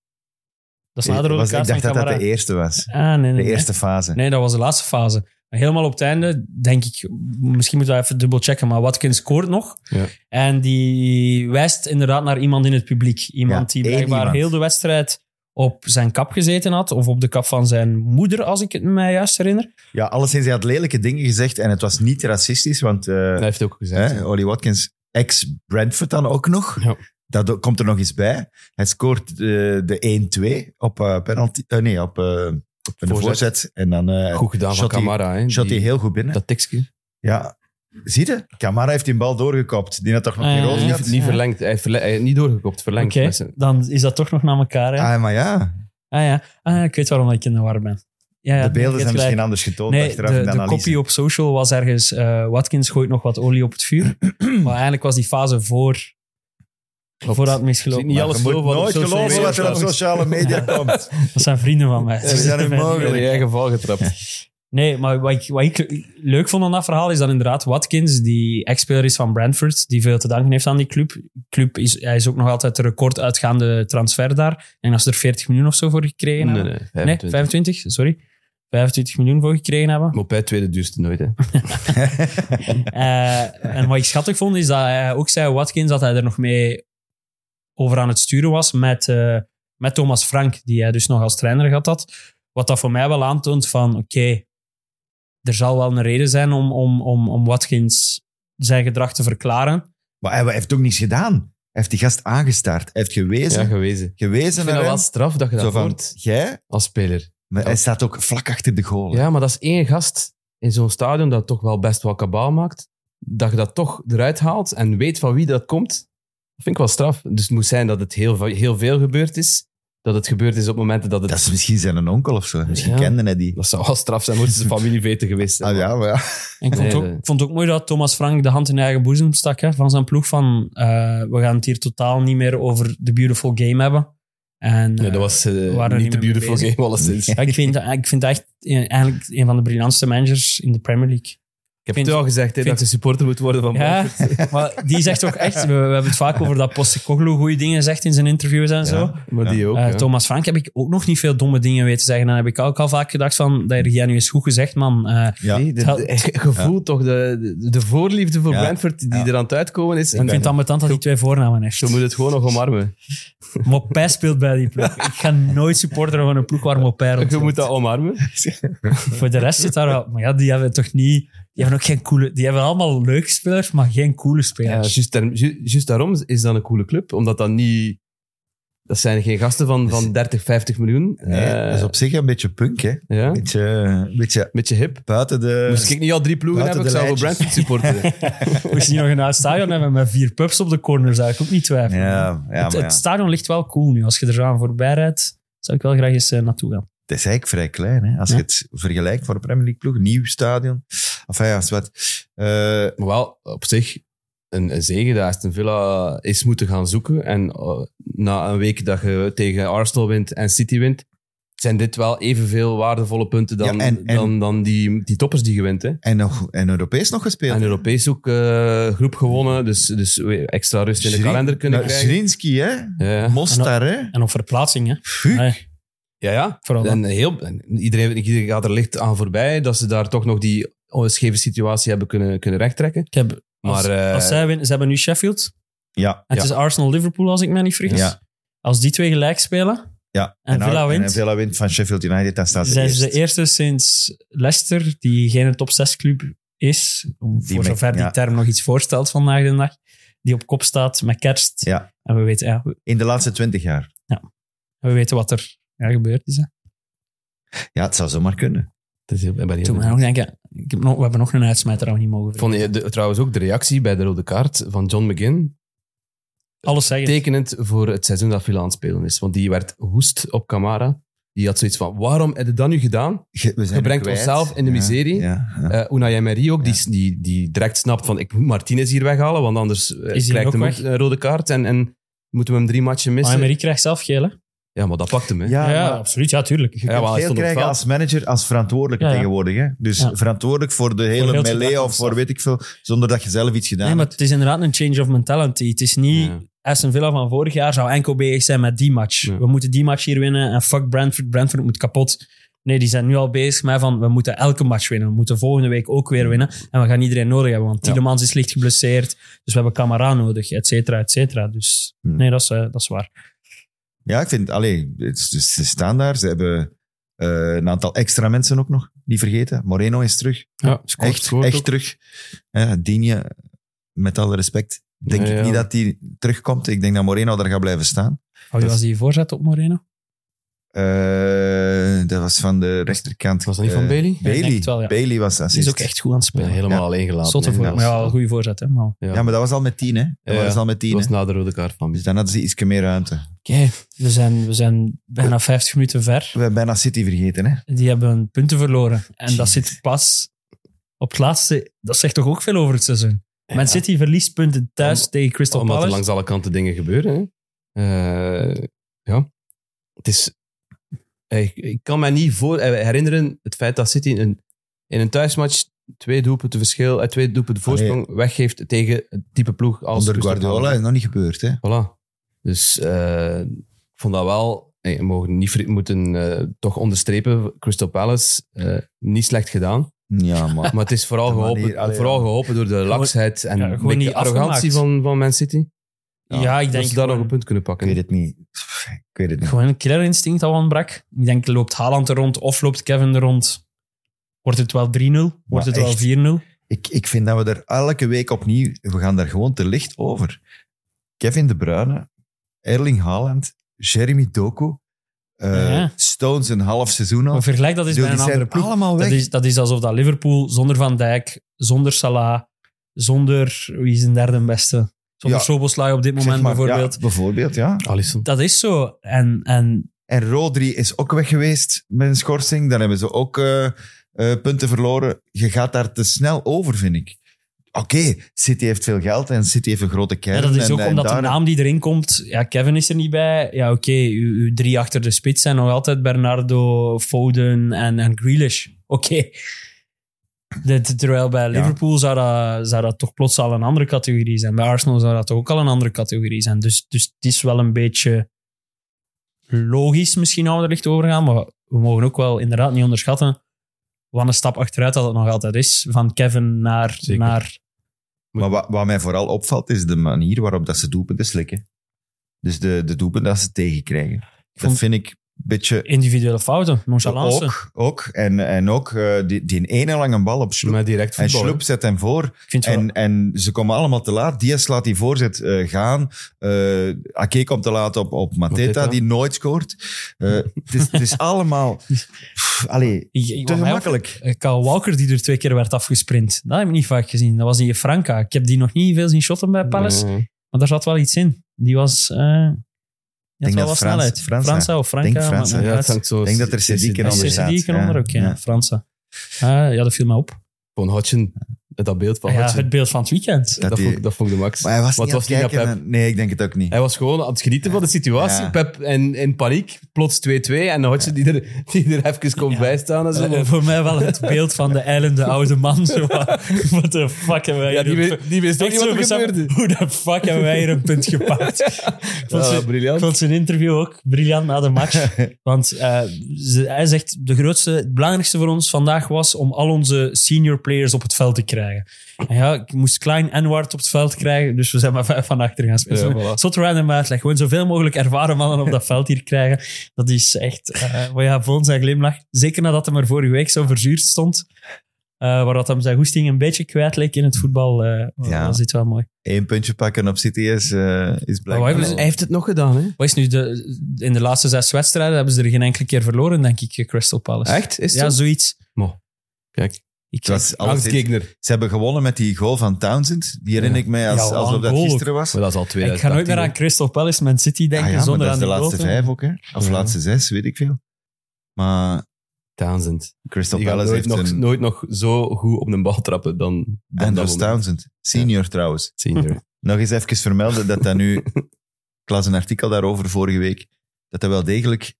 Dat is na de rode
Was-
kaart
Ik dacht
van
dat dat
Camara.
de eerste was.
Ah, nee, nee,
De
nee.
eerste fase.
Nee, dat was de laatste fase. Maar helemaal op het einde, denk ik, misschien moeten we even dubbelchecken, maar Watkins scoort nog.
Ja.
En die wijst inderdaad naar iemand in het publiek. Iemand
Ja,
die
één
blijkbaar
iemand.
heel de wedstrijd op zijn kap gezeten had, of op de kap van zijn moeder, als ik het mij juist herinner.
Ja, alleszins, hij had lelijke dingen gezegd en het was niet racistisch, want eh,
Hij heeft ook gezegd.
hè, Ollie Watkins, ex-Brentford dan ook nog.
Ja.
Dat o- komt er nog eens bij. Hij scoort eh, de 1-2 op eh, penalty... eh, nee, op, eh, op een
voorzet.
voorzet. En dan eh
Goed gedaan van
shot die-
Camara. hè.
shot hij
Die-
heel goed binnen.
Dat tikje.
Ja. Zie je? Camara heeft die bal doorgekopt. Die had toch nog
Ah,
geen
ja,
rood
ja.
gehad?
Dus Niet, niet verlengd. Hij heeft verle- hij heeft niet doorgekopt, verlengd.
Oké,
Met zijn-
dan is dat toch nog naar elkaar. Hè? Ah,
Ah, maar ja.
ja. ah ja, ik weet waarom ik in de war ben. Ja, ja,
De
nee, je
beelden
hebt
zijn
gelijk.
misschien anders getoond
Nee,
achteraf in
de,
de
de
analyse.
kopie op social was ergens... eh, Watkins gooit nog wat olie op het vuur. maar eigenlijk was die fase voor... Voordat het misgelopen
Niet
Maar
alles
je moet
geloven wat op
nooit
social
geloven
media
wat er op
staat.
sociale media komt.
Dat zijn vrienden van mij.
Ze zijn
Mijn-
mogelijk.
in je eigen val getrapt.
Nee, maar wat ik, wat ik leuk vond aan dat verhaal is dat inderdaad Watkins, die ex-speler is van Brentford, die veel te danken heeft aan die club. club is, hij is ook nog altijd de recorduitgaande transfer daar. Ik denk dat ze er 40 miljoen of zo voor gekregen
Nee, nee,
hebben.
25.
Nee, 25, sorry. 25 miljoen voor gekregen hebben.
Maar bij het tweede duurste nooit. Hè.
Eh, en wat ik schattig vond, is dat hij ook zei, Watkins, dat hij er nog mee over aan het sturen was met, eh, met Thomas Frank, die hij dus nog als trainer gehad had. Wat dat voor mij wel aantoont van, oké, er zal wel een reden zijn om, om, om, om Watkins zijn gedrag te verklaren.
Maar hij heeft ook niets gedaan. heeft die gast aangestaard. Hij heeft gewezen,
Ja, gewezen. Ik
gewezen
vind
naar
dat
hem.
wel straf dat je
Zo
dat
van,
hoort
jij?
als speler.
Maar hij staat ook vlak achter de goal. hè.
Ja, maar dat is één gast in zo'n stadion dat toch wel best wel kabaal maakt. Dat je dat toch eruit haalt en weet van wie dat komt, dat vind ik wel straf. Dus het moet zijn dat het heel, ve- heel veel gebeurd is. Dat het gebeurd is op momenten dat het...
Dat is misschien zijn onkel of zo. Misschien
Ja.
kende hij die.
dat zou wel straf zijn, moesten ze familie weten geweest zijn.
Ah, ja, maar ja.
En ik vond,
Nee,
ook,
nee.
ik vond ook mooi dat Thomas Frank de hand in eigen boezem stak hè, van zijn ploeg. Van, eh, we gaan het hier totaal niet meer over de beautiful game hebben. En,
Nee,
eh,
dat was eh,
waren er
niet
niet
de
mee
beautiful
bezig.
game, alleszins.
ja, ik, vind, ik vind echt eh, eigenlijk een van de briljantste managers in de Premier League.
Ik heb
Vind-
het al gezegd, hè,
vind-
dat je supporter moet worden van
Ja, maar die zegt ook echt... We, we hebben het vaak over dat Postecoglou goede dingen zegt in zijn interviews en zo.
Maar die ook,
Eh,
ja.
Thomas Frank heb ik ook nog niet veel domme dingen weten zeggen. Dan heb ik ook al vaak gedacht van... Dat jij nu eens goed gezegd, man. Eh,
Ja.
Nee, de, de- gevoel toch, de, de- de voorliefde voor
Ja.
Brentford die
Ja.
er aan het uitkomen is.
ik vind het ambetant dat hij twee voornamen heeft.
Zo moet het gewoon nog omarmen.
Mopé speelt bij die ploeg. Ik ga nooit supporter van een ploeg waar Mopé
Je
rond
moet dat omarmen.
Voor de rest zit daar wel... Maar ja, die hebben toch niet... Die hebben ook geen coole... Die hebben allemaal leuke spelers, maar geen coole
Ja,
spelers.
Eh, juist, daar- ju- juist daarom is dat een coole club. Omdat dat niet... Dat zijn geen gasten van, van 30, 50 miljoen.
Nee,
Eh,
dat is op zich een beetje punk, hè. Een
ja,
beetje, een beetje
beetje hip.
buiten de...
Moest ik niet al drie ploegen
buiten
hebben,
de
ik zou wel
lijntjes.
Brentford supporteren.
Moest je nog een oud stadion hebben met vier pubs op de corner, zou ik ook niet twijfelen.
Ja, ja,
het,
maar ja.
het stadion ligt wel cool nu. Als je er aan voorbij rijdt, zou ik wel graag eens eh, naartoe gaan.
Het is eigenlijk vrij klein, hè. Als
Ja.
je het vergelijkt voor de Premier League ploeg, nieuw stadion. Enfin, ja, zwart. Eh,
maar wel, op zich, een, een zegen dat Aston Villa is moeten gaan zoeken. En eh, na een week dat je tegen Arsenal wint en City wint, zijn dit wel evenveel waardevolle punten dan,
Ja, en- en-
dan, dan die, die toppers die je wint. Hè?
en, nog, en Europees nog gespeeld.
En Europees ook eh, groep gewonnen, dus, dus weer extra rust in de
Schrin-
kalender kunnen
Nou,
krijgen.
Zrinski, hè.
Ja.
Mostar, hè.
En op verplaatsing, hè?
Fuck.
Nee,
Ja, ja.
vooral dat.
En heel, en iedereen, iedereen gaat er licht aan voorbij dat ze daar toch nog die scheve situatie hebben kunnen, kunnen rechttrekken.
Ik heb,
Maar
als,
eh,
als zij winnen, ze hebben nu Sheffield.
Ja.
En het is Arsenal-Liverpool, als ik me niet vergis.
Ja.
Als die twee gelijk spelen,
ja.
En Villa wint?
En Villa wint van Sheffield United, dan staat ze
zijn ze
eerst.
de eerste sinds Leicester, die geen top 6 club is, voor
met-
zover die
ja.
term nog iets voorstelt vandaag de dag, die op kop staat met kerst.
Ja.
En we weten, ja, we,
In de laatste twintig jaar.
we weten wat er ja, gebeurd is. Hè.
Ja, het zou zomaar kunnen.
het is heel- ik ben heel
Toen we nog denken, ik heb nog, we hebben nog een uitsmijter dat we niet mogen
Ik vond je de- trouwens ook de reactie bij de rode kaart van John McGinn
Alles zeggen.
tekenend voor het seizoen dat Villa aan het spelen is. Want die werd woest op Camara. Die had zoiets van, waarom heb je dat nu gedaan?
Je, we zijn
Je brengt
kwijt.
onszelf in de
Ja,
miserie.
Ja, ja.
Eh Unai Emery ook, die, die, die direct snapt van, ik moet Martinez hier weghalen, want anders eh,
hij
krijgt
ook
hem ook
weg?
een rode kaart en, en moeten we hem drie matchen
maar
missen.
Emery krijgt zelf geel, hè?
Ja, maar dat pakt hem. Hè.
Ja,
Ja,
maar-
absoluut. Ja, tuurlijk.
Je
Ja,
kunt
maar hij
veel
stond op het
krijgen
veld.
als manager, als verantwoordelijke
Ja, ja.
tegenwoordig. Hè? Dus
Ja.
verantwoordelijk voor de hele
heel het
melee
gedrag
of
van
voor weet ik veel, zonder dat je zelf iets gedaan
Nee, maar het is inderdaad een change of mentality. Het is niet...
Ja.
Aston Villa van vorig jaar zou enkel bezig zijn met die match.
Ja.
We moeten die match hier winnen en fuck Brentford. Brentford moet kapot. Nee, die zijn nu al bezig met van we moeten elke match winnen. We moeten volgende week ook weer winnen. En we gaan iedereen nodig hebben, want
Ja.
Tielemans is licht geblesseerd. Dus we hebben Camara nodig, et cetera, et cetera. Dus
Hmm.
nee, dat is, eh, dat is waar.
hebt. Ja, ik vind, allee, het is- dus ze staan daar. Ze hebben eh, een aantal extra mensen ook nog, niet vergeten. Moreno is terug.
Ja,
echt echt terug. Ja, Digne, met alle respect, denk
Ja,
ik
ja.
niet dat hij terugkomt. Ik denk dat Moreno daar gaat blijven staan.
Wie was die voorzet op Moreno?
Eh, dat was van de rechterkant.
Was dat niet van
Eh,
Bailey?
Ik denk
Bailey,
het wel, ja.
Bailey was
Die is
assist.
ook echt goed aan het
Ja,
spelen.
helemaal
Ja.
alleen gelaten.
Zotte
hè.
voorzet. Maar
Dat
ja,
was-
wel een goede voorzet. Hè? Maar...
ja.
Ja, maar dat was al met tien, hè? Dat
Ja.
was al met tien.
dat was
hè.
na de rode kaart van
Dus dan hadden ze iets meer ruimte.
Oké, we, zijn, we zijn bijna 50 minuten ver.
We hebben bijna City vergeten, hè?
die hebben punten verloren. En dat zit pas op het laatste. Dat zegt toch ook veel over het seizoen. Man City verliest punten thuis
Om-
tegen Crystal
Omdat er
Palace.
langs alle kanten dingen gebeuren. Hè. Eh, ja. Het is... eh, Ik, ik kan mij niet voor, eh, herinneren het feit dat City in een, in een thuismatch twee doelpunten verschil, eh, twee doelpunten voorsprong weggeeft tegen het type ploeg als
Onder
Crystal
Guardiola is
Palace.
het nog niet gebeurd, hè?
Voilà. Dus eh, ik vond dat wel... eh, We mogen niet, ver- moeten eh, toch onderstrepen, Crystal Palace, eh, niet slecht gedaan.
Ja, maar...
Maar het is vooral,
De manier,
geholpen,
allee,
vooral
ja.
geholpen door de laksheid en
ja,
een
gewoon
beetje
niet
arrogantie
afgemaakt.
van, van Man City.
Ja, ik denk
dat ze dus daar nog
gewoon,
een punt kunnen
ik weet
pakken.
het niet. Pff, Ik weet het niet.
gewoon een killer instinct dat ontbrak. Ik denk, loopt Haaland er rond of loopt Kevin er rond? Wordt het wel 3-0? Wordt
Maar
het
echt.
wel 4-0?
Ik, ik vind dat we er elke week opnieuw... We gaan daar gewoon te licht over. Kevin De Bruyne, Erling Haaland, Jeremy Doku, eh,
Ja.
Stones een half seizoen al.
Maar vergelijk dat eens
Bedoel,
bij een
die
andere
zijn
ploeg.
allemaal Oh, weg.
Dat is, dat is alsof dat Liverpool zonder Van Dijk, zonder Salah, zonder... Wie is een derde beste? Zonder
Ja.
Soboslai op dit
Zeg
moment
maar,
bijvoorbeeld.
Ja, bijvoorbeeld, ja.
Alisson.
Dat is zo. En, en
En Rodri is ook weg geweest met een schorsing. Dan hebben ze ook eh, eh, punten verloren. Je gaat daar te snel over, vind ik. Oké, City heeft veel geld en City heeft een grote kern.
ja, dat is
en-
ook
en
omdat de
daar-
naam die erin komt... Ja, Kevin is er niet bij. Ja, oké, uw, uw drie achter de spits zijn nog altijd Bernardo, Foden en, en Grealish. Oké. Dit- Terwijl bij Liverpool zou, dat, zou dat toch plots al een andere categorie zijn. Bij Arsenal zou dat toch ook al een andere categorie zijn. Dus, dus het is wel een beetje logisch misschien nou er licht overgaan, maar we mogen ook wel inderdaad niet onderschatten wat een stap achteruit dat het nog altijd is. Van Kevin naar...
Zeker.
naar
Maar wat, wat mij vooral opvalt, is de manier waarop dat ze doelpunten slikken. Dus de, de doelpunten dat ze tegenkrijgen.
vond-
Dat vind ik een beetje...
individuele fouten, nonchalance.
Ook, ook. En, en ook eh, die, die ene lange bal op Sloep.
Maar direct
En
voetbal.
Sloep zet hem voor.
Ik vind het wel-
En, en ze komen allemaal te laat. Diaz laat die voorzet eh, gaan. Eh Ake komt te laat op, op Mateta,
Mateta.
die nooit scoort. Eh, het, is, het is allemaal... Pff, allee,
Ik- ik-
te
wat mij
gemakkelijk.
opvalt, eh, Kyle Walker die er twee keer werd afgesprint. Dat heb ik niet vaak gezien. Dat was in Franca. Ik heb die nog niet veel zien shotten bij Palace.
Nee.
Maar daar zat wel iets in. Die was... eh die
denk
had wel
dat
wat
Frans-
snelheid.
Fransa.
Fransa of Franca.
Denk
maakt
Fransa.
niet
Ja,
uit.
het hangt zo.
Ik denk dat er Sediek in
Is
onder
Cedric
staat,
eronder
ja,
ook, ja.
ja.
Fransa. Ah, ja, dat viel mij op.
Van Hodgson, dat beeld van
Ah ja,
Hodgson.
het beeld van het weekend.
Dat,
Dat die-
vond, ik- dat vond ik de max.
maar hij was
Wat
niet aan het
was die
kijken.
naar
en- Nee, ik denk het ook niet.
Hij was gewoon aan het genieten van de situatie.
Ja.
Pep en in paniek, plots 2-2. En dan Hodgson die, er, die er even komt
Ja.
bijstaan en zo.
Eh, eh, voor mij wel het beeld van de eilende oude man. Zo, what the fuck hebben wij
ja, die,
hier... een
we-
pu-
die wist ook
Echt
niet wat
zo
er
besef,
gebeurde.
Hoe de fuck hebben wij hier een punt gepakt? Ik vond
Ja,
ze- Ik
briljant.
vond zijn interview ook briljant na de match. Want eh, ze- hij zegt, de grootste, het belangrijkste voor ons vandaag was om al onze senior players op het veld te krijgen. En ja, ik moest Klein en Ward op het veld krijgen, dus we zijn maar vijf van achter gaan spelen.
Ja, voilà.
Zot random uitleg. Gewoon zoveel mogelijk ervaren mannen op dat veld hier krijgen. Dat is echt, eh wat ja, vol zijn glimlach. Zeker nadat hij er vorige week zo verzuurd stond. eh, waar dat hem zijn goesting een beetje kwijt leek in het voetbal. eh
Ja.
Was dit wel mooi.
Eén puntje pakken op City is, eh, is
Maar
blijkbaar...
wij-
wel-
Hij heeft het nog gedaan, hè?
Wat is nu de, in de laatste zes wedstrijden hebben ze er geen enkele keer verloren, denk ik, eh, Crystal Palace.
Echt? Is het
Ja,
zo?
zoiets.
Kijk,
Ik,
Het was alles-
Angstgegner.
ze hebben gewonnen met die goal van Townsend. Die herinner
Ja.
ik mij als,
Ja, wat
alsof
een
dat
goal ook.
gisteren was.
Maar dat is al twee
ik ga nooit meer aan Crystal Palace, Man City denken
Ah ja, maar
zonder
dat
aan
is de
die goal
laatste
te-
vijf ook, hè? Of
Ja.
laatste zes, weet ik veel. Maar
Townsend.
Crystal
Die gaat
Palace
nooit
heeft
nog,
een...
nooit nog zo goed op een bal trappen dan, dan dat
Andrew
moment.
Townsend, senior trouwens.
Senior.
Nog eens even vermelden dat dat nu... ik las een artikel daarover vorige week. Dat dat wel degelijk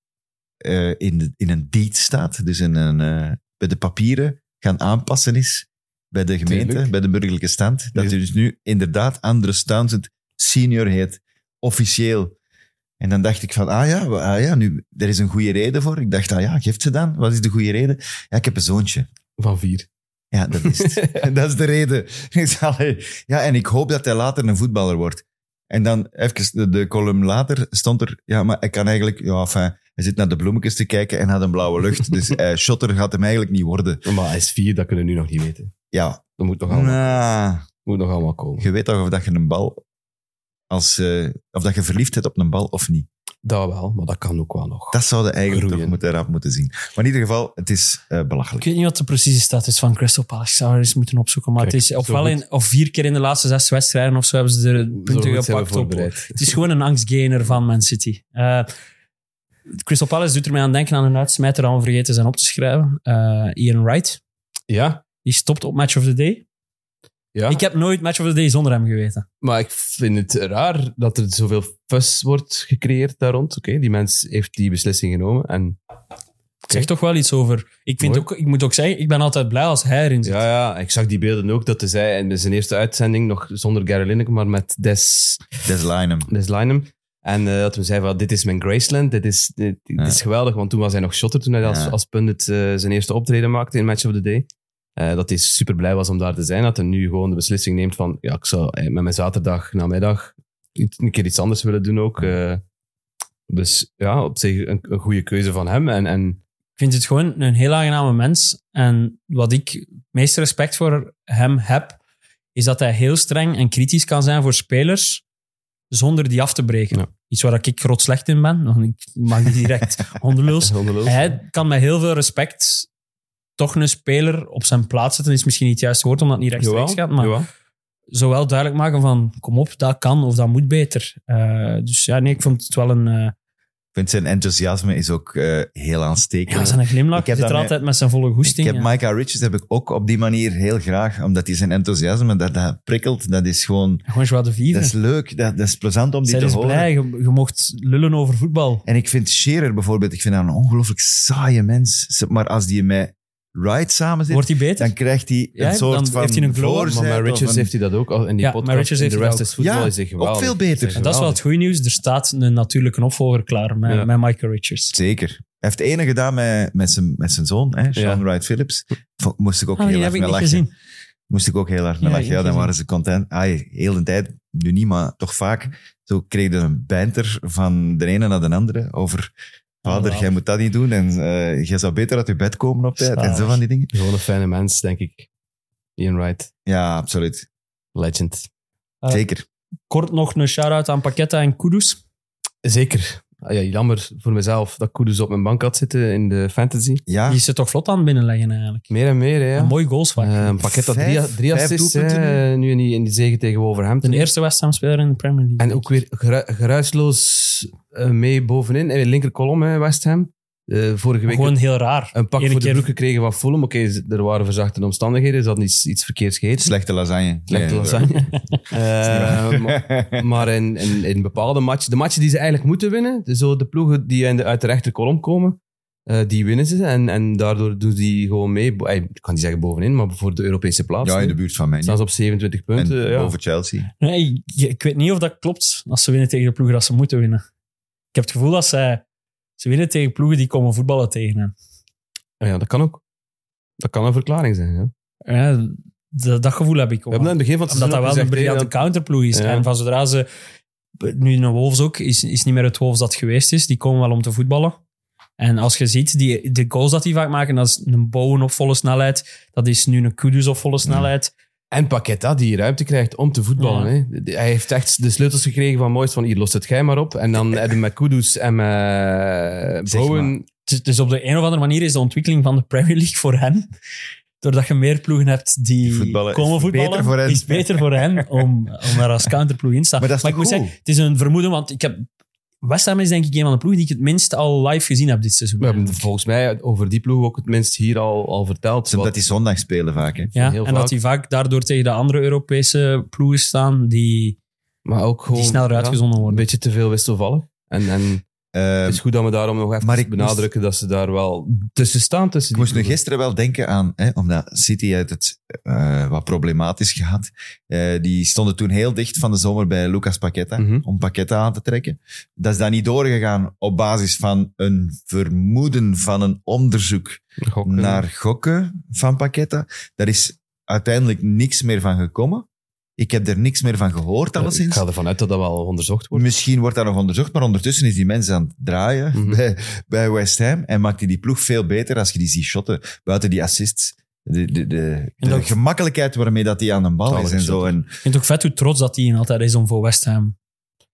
eh, in, de- in een deed staat. Dus in een, eh, bij de papieren gaan aanpassen is. Bij de gemeente,
Tuurlijk.
bij de burgerlijke stand. Dat
Dus-
hij dus nu inderdaad Andres Townsend senior heet. Officieel. En dan dacht ik van, ah ja, wa- ah ja nu, er is een goede reden voor. Ik dacht, ah ja, geeft ze dan? Wat is de goede reden? Ja, ik heb een zoontje.
Van vier.
Ja, dat is het. dat is de reden. Ik zei, allee, ja, en ik hoop dat hij later een voetballer wordt. En dan even de, de column later stond er, ja, maar hij kan eigenlijk, ja, enfin, hij zit naar de bloemetjes te kijken en had een blauwe lucht. Dus eh, shotter gaat hem eigenlijk niet worden.
Maar hij is vier, dat kunnen we nu nog niet weten.
Ja,
Dat moet nog allemaal,
nou,
moet nog allemaal komen.
je weet toch of dat je een bal, als, eh, of dat je verliefd hebt op een bal of niet.
Dat wel, maar dat kan ook wel nog.
Dat zouden eigenlijk
Groeien.
toch moeten, rap moeten zien. Maar in ieder geval, het is eh,
Ik
belachelijk.
weet niet wat de precieze status van Crystal Palace Ik zou er eens moeten opzoeken. Maar
Kijk,
het is
zo
ofwel
goed.
in, of vier keer in de laatste zes wedstrijden of zo hebben ze er punten gepakt op. Het is gewoon een angstgainer van Man City. Eh, Crystal Palace doet er mij aan denken aan een uitsmijter dat we vergeten zijn op te schrijven. Eh, Ian Wright.
Ja,
Die stopt op Match of the Day.
ja.
Ik heb nooit Match of the Day zonder hem geweten.
maar ik vind het raar dat er zoveel fuss wordt gecreëerd daar rond. Oké, die mens heeft die beslissing genomen. En,
Het zegt toch wel iets over. Ik, vind
Mooi.
ook, ik moet ook zeggen, ik ben altijd blij als hij erin zit.
ja, ja, ik zag die beelden ook dat hij in zijn eerste uitzending, nog zonder Gary Lineker, maar met Des
Des Lynam.
Des Lynam. En eh, dat we zeiden van, dit is mijn Graceland, dit is, dit, dit
Ja.
is geweldig. Want toen was hij nog shotter, toen hij als,
Ja.
als pundit eh, zijn eerste optreden maakte in Match of the Day. Eh, dat hij super blij was om daar te zijn. Dat hij nu gewoon de beslissing neemt van, ja, ik zou eh, met mijn zaterdag namiddag iets- een keer iets anders willen doen ook. eh. dus ja, op zich een, een goede keuze van hem. En, en
Ik vind het gewoon een heel aangename mens. En wat ik het meeste respect voor hem heb, is dat hij heel streng en kritisch kan zijn voor spelers zonder die af te breken.
Ja.
Iets waar ik groot slecht in ben, want ik maak die direct hondenlul.
Hondenloos.
Hij kan met heel veel respect toch een speler op zijn plaats zetten. Is misschien niet het juiste woord, omdat het niet rechtstreeks gaat. Maar
jawel.
zowel duidelijk maken van, kom op, dat kan of dat moet beter. Eh, dus ja, nee, ik vond het wel een... eh,
vind zijn enthousiasme is ook eh, heel
ja,
aanstekelijk.
zijn glimlach
Ik heb
zit er
daarmee-
altijd met zijn volle goesting.
Ik heb
ja.
Micah Richards heb ik ook op die manier heel graag, omdat hij zijn enthousiasme, dat, dat prikkelt, dat is gewoon...
Gewoon joie de vivre.
Dat is leuk, dat, dat is plezant om die
Zij
te
is
horen.
blij, je, je mocht lullen over voetbal.
En ik vind Scherer bijvoorbeeld, ik vind haar een ongelooflijk saaie mens. Ze- Maar als die met Wright samen zit,
Wordt hij beter?
dan krijgt hij een
Ja, dan
soort van
heeft hij een glow-up.
voorzet
Maar met
of
Richards
een-
heeft hij dat ook. al In die
Ja,
podcast.
maar Richards
In
heeft
de
dat
rest
ook.
is voetbal
Ja,
is hij
ook
geweldig.
veel beter.
Is hij
En dat is wel het
geweldig.
goede nieuws. Er staat een natuurlijke opvolger klaar met,
Ja.
met Michael Richards.
Zeker. Hij heeft het ene gedaan met, met, zijn, met zijn zoon, hè, Sean
Ja.
Wright Phillips. Vo- Moest ik ook
Ah,
heel
die
erg
heb
mee
ik niet
lachen.
gezien.
Moest ik ook heel erg mee
Ja,
lachen. Ja, dan
gezien.
waren ze content. Ai, heel de tijd, nu niet, maar toch vaak. Zo kreeg je een banter van de ene naar de andere over... Vader,
wauw.
jij moet dat niet doen en eh, jij zou beter uit je bed komen op tijd. En
Zalig.
zo van die dingen.
Gewoon een fijne mens, denk ik. Ian Wright,
Ja, absoluut.
legend.
Ah.
Zeker.
Kort nog een shout-out aan Paqueta en Kudus.
Zeker. Ah Ja, jammer voor mezelf dat Kudus op mijn bank had zitten in de fantasy.
Ja,
Die is er toch vlot aan het binnenleggen eigenlijk.
Meer en meer, hè.
Een mooie goals vaak.
Eh, een pakket dat drie,
Vijf-
drie
vijf
assists
doelpunten
hè, eh, nu in die, in die zege tegen Wolverhampton.
de eerste West Ham-speler in de Premier League.
En ook weer geru- geruisloos eh, mee bovenin. En weer linkerkolom, hè, West Ham. Eh, vorige week
Gewoon heel raar.
een pak
Ene
voor de
keer-
broek gekregen van Fulham. Oké, ze- er waren verzachte omstandigheden. Ze hadden iets, iets verkeerds gegeten.
slechte lasagne.
Slechte
Nee,
lasagne. Eh, maar-
maar-
maar in, in, in bepaalde matchen, de matchen die ze eigenlijk moeten winnen, dus zo de ploegen die in de, uit de rechterkolom komen, eh, die winnen ze. En, en daardoor doen ze die gewoon mee. Bo- ey, Ik kan niet zeggen bovenin, maar voor de Europese plaats.
ja, in de buurt van mij.
Staan ze op 27
En
punten. ja.
boven
Ah,
Chelsea.
Nee, je- ik weet niet of dat klopt als ze winnen tegen de ploegen dat ze moeten winnen. Ik heb het gevoel dat zij, ze winnen tegen ploegen die komen voetballen tegen hen.
Ah ja, dat kan ook. Dat kan een verklaring zijn. Ja.
Ja, dat, dat gevoel heb ik
We
ook.
hebben aan het begin van het
Omdat dat wel
seizoen ook
een
gezegd, hè,
briljante counterploeg is.
Ja.
En van zodra ze... Nu een Wolves ook, is, is niet meer het Wolves dat geweest is. Die komen wel om te voetballen. En als je ziet, die, de goals dat die vaak maken, dat is een Bowen op volle snelheid. Dat is nu een Kudus op volle snelheid.
En Paqueta die ruimte krijgt om te voetballen. Hè. De- Hij heeft echt de sleutels gekregen van Moyes van hier lost het gij maar op. En dan hebben we met Kudus en met
Zeg
Bowen.
Dus, dus op de een of andere manier is de ontwikkeling van de Premier League voor hen... Doordat je meer ploegen hebt die
Die voetballen
komen
is
voetballen,
beter voor hen.
is beter voor hen om, om daar als counterploeg in te staan.
Maar dat is
ik moet
toch
zeggen,
goed?
het is een vermoeden, want ik heb... West Ham is denk ik een van de ploegen die ik het minst al live gezien heb dit seizoen.
We hebben volgens mij over die ploeg ook het minst hier al, al verteld.
Omdat
wat-
die zondag spelen vaak. Hè.
Ja,
Heel
en
vaak.
dat die vaak daardoor tegen de andere Europese ploegen staan die,
maar ook gewoon,
die sneller
ja,
uitgezonden
Een
worden.
beetje te veel wisselvallig. En, en
Eh,
het is goed dat we daarom nog even
maar ik moest-
benadrukken dat ze daar wel tussen staan. Tussen
ik
die
moest nu
ploegen.
gisteren wel denken aan, hè, omdat City had het eh, wat problematisch gehad. Eh, die stonden toen heel dicht van de zomer bij Lucas Paqueta,
Mhm.
om Paqueta aan te trekken. Dat is dan niet doorgegaan op basis van een vermoeden van een onderzoek
Gokken.
naar gokken van Paqueta. Daar is uiteindelijk niks meer van gekomen. Ik heb er niks meer van gehoord,
Eh, Ik
alleszins.
ga ervan uit dat dat wel onderzocht wordt.
Misschien wordt dat nog onderzocht, maar ondertussen is die mens aan het draaien
Mhm.
bij, bij West Ham en maakt hij die ploeg veel beter als je die ziet shotten, buiten die assists. De, de, de, de
En dat-
gemakkelijkheid waarmee dat hij aan de bal is en
Zalige
zo. En,
Ik vind het ook vet hoe trots dat hij altijd is om voor West Ham.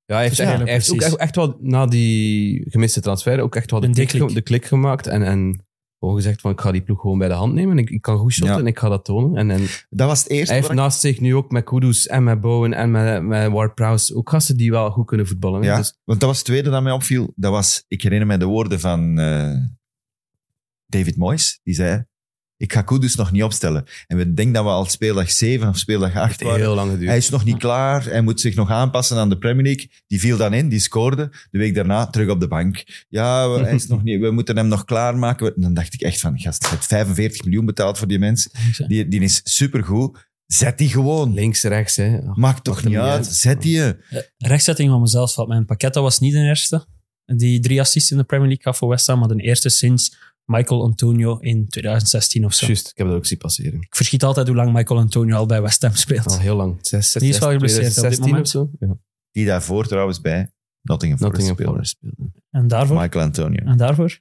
Ja, hij heeft,
Ja,
echt- hij heeft ook
precies.
echt, echt wel na die gemiste transfer ook echt wel de
Een
klik,
dikklik.
ge- de klik gemaakt. En, en gewoon gezegd van ik ga die ploeg gewoon bij de hand nemen. Ik, ik kan goed shotten
Ja.
en ik ga dat tonen. En, en
dat was het eerste.
hij heeft
waar ik-
naast zich nu ook met Kudus en met Bowen en met, met Ward-Prowse ook gasten die wel goed kunnen voetballen. hè.
ja,
Dus
want dat was het tweede dat mij opviel. Dat was, ik herinner mij de woorden van eh, David Moyes. Die zei, ik ga Kudus nog niet opstellen. En we denken dat we al speeldag 7 of speeldag 8
het heeft heel lang geduurd.
Hij is nog niet klaar. Hij moet zich nog aanpassen aan de Premier League. Die viel dan in, die scoorde. De week daarna terug op de bank. Ja, we, hij is nog niet, we moeten hem nog klaarmaken. We- Dan dacht ik echt van, gast, je hebt 45 miljoen betaald voor die mens. Die, die is supergoed. Zet die gewoon.
Links, rechts. Hè.
Maakt toch
Maakt
niet
hem niet
uit.
uit.
Zet die eh. je.
Rechtzetting van mezelf valt mijn pakket. Dat was niet de eerste die drie assists in de Premier League gaf voor West Ham, maar de eerste sinds Michael Antonio in 2016 of zo.
Juist, ik heb dat ook zien passeren.
Ik verschiet altijd hoe lang Michael Antonio al bij West Ham
Al
Oh.
speelt.
heel lang. Zes, zes,
Die is wel geblesseerd op dit
2016
moment.
of zo. Ja.
Die daarvoor trouwens bij Nottingham Forest
Nottingham
speelde.
Forest speelde.
En daarvoor?
Michael Antonio.
En daarvoor?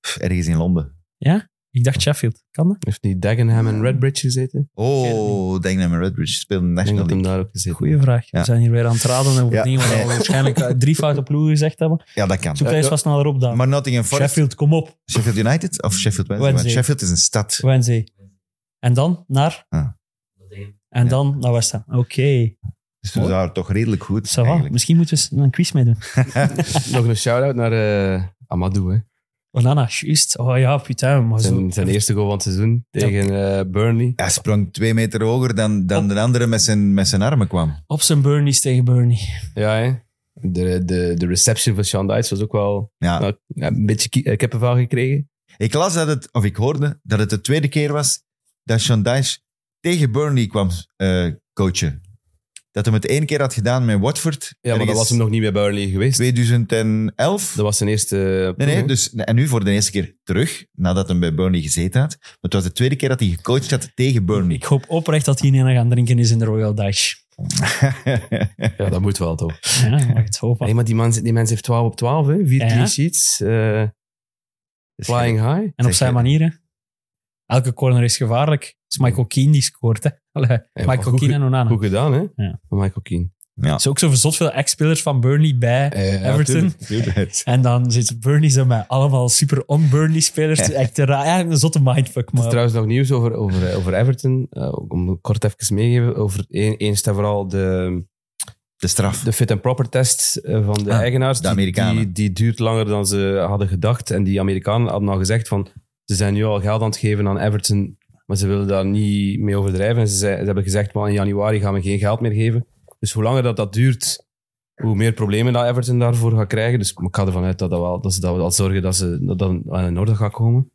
Pff, Ergens in Londen.
Ja? Ik dacht Sheffield. Kan dat?
Heeft niet Dagenham en Redbridge gezeten?
Oh, Dagenham en Redbridge speelde in de
Ik denk
National
dat hem
League.
daar ook gezeten
Goeie vraag.
Ja.
We zijn hier weer aan het raden en
Ja.
over dingen waar we
Nee.
waarschijnlijk eh, drie foute ploegen gezegd hebben.
Ja, dat kan.
Zoek daar eens wat sneller op dan.
Maar Nottingham Forest, Sheffield.
Sheffield, kom op.
United of Sheffield Wednesday?
Wednesday.
Want Sheffield is een stad.
Wednesday. En dan naar?
Ah.
En dan naar West Ham. Oké.
Dus we waren toch redelijk goed.
Ça va.
eigenlijk.
Misschien moeten we eens een quiz meedoen.
Nog een shout-out naar eh, Amadou. Hè.
Onana, juist. Oh ja, putain. Maar zo.
Zijn, zijn eerste goal van het seizoen tegen eh, Burnley.
Hij sprong twee meter hoger dan, dan de andere met zijn, met zijn armen kwam.
Op zijn Burnies tegen Burnley.
Ja, hè? De, de, de reception van Sean Dyche was ook wel
Ja.
nou, ja, een beetje ki- eh, kippenvel gekregen.
Ik las dat het, of ik hoorde, dat het de tweede keer was dat Sean Dyche tegen Burnley kwam eh, coachen. Dat hij het één keer had gedaan met Watford.
Ja, maar dat
ergens
was hem nog niet bij Burnley geweest.
2011.
Dat was zijn eerste...
Nee,
ploeg,
nee,
hè.
dus, en nu voor de eerste keer terug, nadat hij bij Burnley gezeten had. Maar het was de tweede keer dat hij gecoacht had tegen Burnley.
Ik hoop oprecht dat hij niet aan gaan drinken is in de Royal Dutch.
Ja, dat moet wel, toch?
Ja, mag het hopen.
Hey, maar die man, die mens heeft 12 op 12, hè? Vier
Ja.
clean sheets. eh, flying high.
En op zijn manier, hè. Elke corner is gevaarlijk. Het is Michael Keane die scoort, hè. Allee,
maar
Michael
goed
Keane en Onana.
Goed gedaan, hè?
Ja.
Van Michael Keane.
Ja.
Er zijn ook zo verzot veel ex-spelers van Burnley bij.
Eh,
Everton.
tuurlijk.
En dan zit Burnley zo met allemaal super on-Burnley-spelers. Het is Echt een raar- eigenlijk een zotte mindfuck,
Er is
maar...
trouwens nog nieuws over, over, eh, over Everton. Eh, ook om het kort even meegeven. Over één, één is dat vooral de,
De straf.
de fit and proper test eh, van de
Ah,
eigenaars.
de
Die-
Amerikanen.
Die, die duurt langer dan ze hadden gedacht. En die Amerikanen hadden al gezegd van... Ze zijn nu al geld aan het geven aan Everton. Maar ze willen daar niet mee overdrijven. En ze, zei- ze hebben gezegd, maar in januari gaan we geen geld meer geven. Dus hoe langer dat, dat duurt, hoe meer problemen dat Everton daarvoor gaat krijgen. Dus ik ga ervan uit dat, dat, wel, dat ze dat wel zorgen dat ze dat, dat wel in orde gaat komen.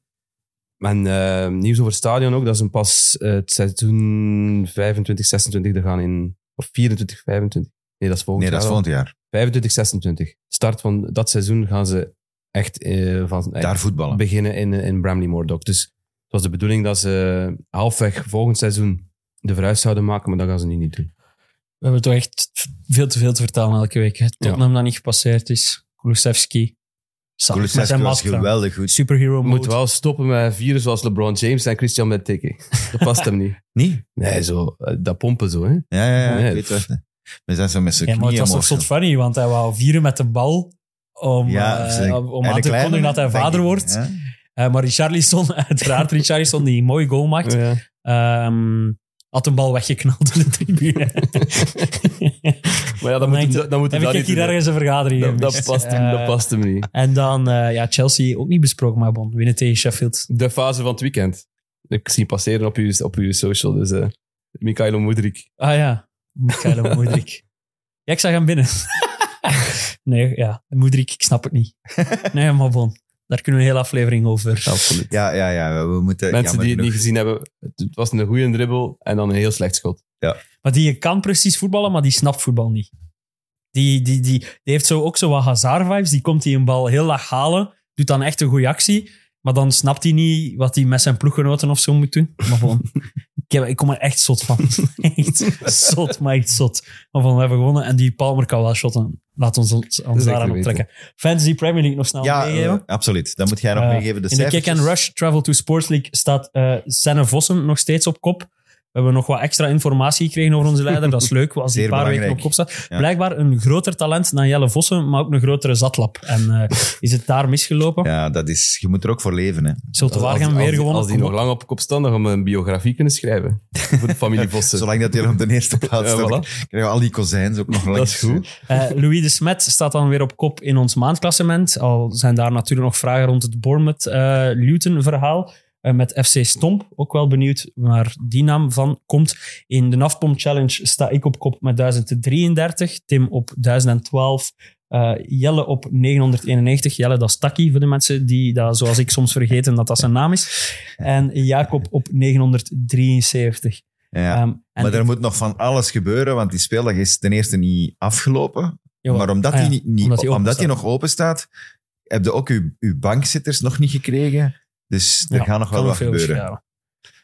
En eh, nieuws over het stadion ook, dat ze pas eh, het seizoen 25, 26 er gaan in. Of 24, 25. Nee, dat is volgend
Nee, dat is
jaar al.
volgend jaar.
25, 26. Start van dat seizoen gaan ze echt eh, van, echt
Daar voetballen.
beginnen in, in Bramley Moordock. Dus het was de bedoeling dat ze halfweg volgend seizoen de vooruit zouden maken, maar dat gaan ze nu niet doen.
We hebben toch echt veel te veel te vertalen elke week. Hè. Tottenham dat niet gepasseerd is. Kulusevski. Zat met
Kulusevski
zijn
was
masker.
geweldig goed.
Superhero
We
mode.
moeten wel stoppen met vieren zoals LeBron James en Christian Benteke. Dat past hem niet.
Niet?
Nee, zo, eh, dat pompen zo, hè.
Ja, ja, ja.
Nee,
ik weet
pff.
wat. We zijn zo met zijn
Ja, maar het
knieën
was toch
omhoog.
zot funny, want hij wou vieren met de bal om,
Ja,
eh,
ze-
om
En
aan
de
te
kleine,
kondigen dat hij
denk
vader
ik,
wordt.
ja.
Eh, maar Richarlison, uiteraard Richarlison, die een mooie goal maakt,
Ja.
ehm, had een bal weggeknald in de tribune.
Maar ja, dan
Dan
moet
denk
je, dan moet je
Heb ik
dat niet
hier
doen, hè.
ergens een vergadering
dat, dat
gemist?
past hem, dat
Eh,
past hem niet.
En dan eh, ja, Chelsea, ook niet besproken, maar bon, winnen tegen Sheffield.
De fase van het weekend. Ik zie passeren op uw, op uw social, dus eh Mikhailo Moedrik.
Ah ja, Michael Moedrik. Ja, ik zag hem binnen. nee, ja, Moedrik, ik snap het niet. Nee, maar bon, daar kunnen we een hele aflevering over.
Absoluut.
Ja, ja, ja. We moeten...
Mensen
jammer
die het niet
genoeg.
gezien hebben, het het was een goede dribbel en dan een heel slecht schot.
Maar die kan precies voetballen, maar die snapt voetbal niet. Die, die, die, die heeft zo ook zo wat Hazard-vibes. Die komt die een bal heel laag halen, doet dan echt een goede actie. Maar dan snapt hij niet wat hij met zijn ploeggenoten of zo moet doen. Maar gewoon, ik, heb, ik kom er echt zot van. Echt zot, maar echt zot. Maar van, we hebben gewonnen en die Palmer kan wel shotten. Laat ons ons, ons
Zeker
daaraan
weten.
optrekken. Fantasy Premier League nog snel
Ja,
meegeven.
eh, absoluut. Dan moet jij nog
Eh,
meegeven. De
In de Kick and Rush Travel to Sports League staat eh Senne Vossen nog steeds op kop. We hebben nog wat extra informatie gekregen over onze leider. Dat is leuk, als die
Zeer
een paar weken op
belangrijk.
kop staat.
Ja.
Blijkbaar een groter talent dan Jelle Vossen, maar ook een grotere zatlap. En eh, is het daar misgelopen?
Ja, dat is... Je moet er ook voor leven, hè.
Zult de
Als-
Waregem
als-
weer
als-
gewonnen?
Als die
Kom
nog lang op kop staan, dan gaan we een biografie kunnen schrijven. Voor de familie Vossen.
Zolang dat je op de eerste plaats
Ja,
staat,
voilà.
krijgen we al die kozijns ook nog langs.
Dat is goed.
Eh, Louis de Smet staat dan weer op kop in ons maandklassement. Al zijn daar natuurlijk nog vragen rond het Bournemouth-Luton-verhaal. Eh, met FC Stomp, ook wel benieuwd waar die naam van komt. In de Nafpom Challenge sta ik op kop met 1033, Tim op 1012, eh, Jelle op 991. Jelle, dat is Taki voor de mensen die, dat, zoals ik soms vergeten, dat dat zijn naam is. En Jacob op 973.
Ja.
Ehm, en
maar er moet nog van alles gebeuren, want die speeldag is ten eerste niet afgelopen.
Jawel.
Maar omdat
Ah
die,
ja,
niet, niet-
omdat
omdat
die
die,
open staat.
nog open staat, heb je ook uw, uw bankzitters nog niet gekregen. Dus er
ja,
gaat nog
kan
wel
nog
wat
veel
gebeuren.
scharen.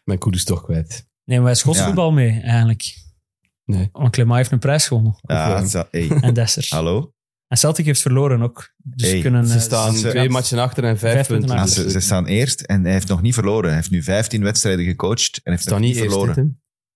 Mijn koed is toch kwijt.
Nemen wij schotsvoetbal mee, eigenlijk?
Nee.
Want Clement heeft een prijs gewonnen.
Ja,
Of, eh,
zo- hey,
En Dessers.
hallo?
En Celtic heeft verloren ook. Dus
Hey,
kunnen,
Ze
eh,
staan
ze-
twee matchen achter en vijf,
Vijf punten
punten.
Ja,
achter.
Dus
Ah, ze, ze staan eerst en hij heeft nog niet verloren. Hij heeft nu 15 wedstrijden gecoacht en heeft
staan
nog
niet
niet
eerst,
verloren.
dit,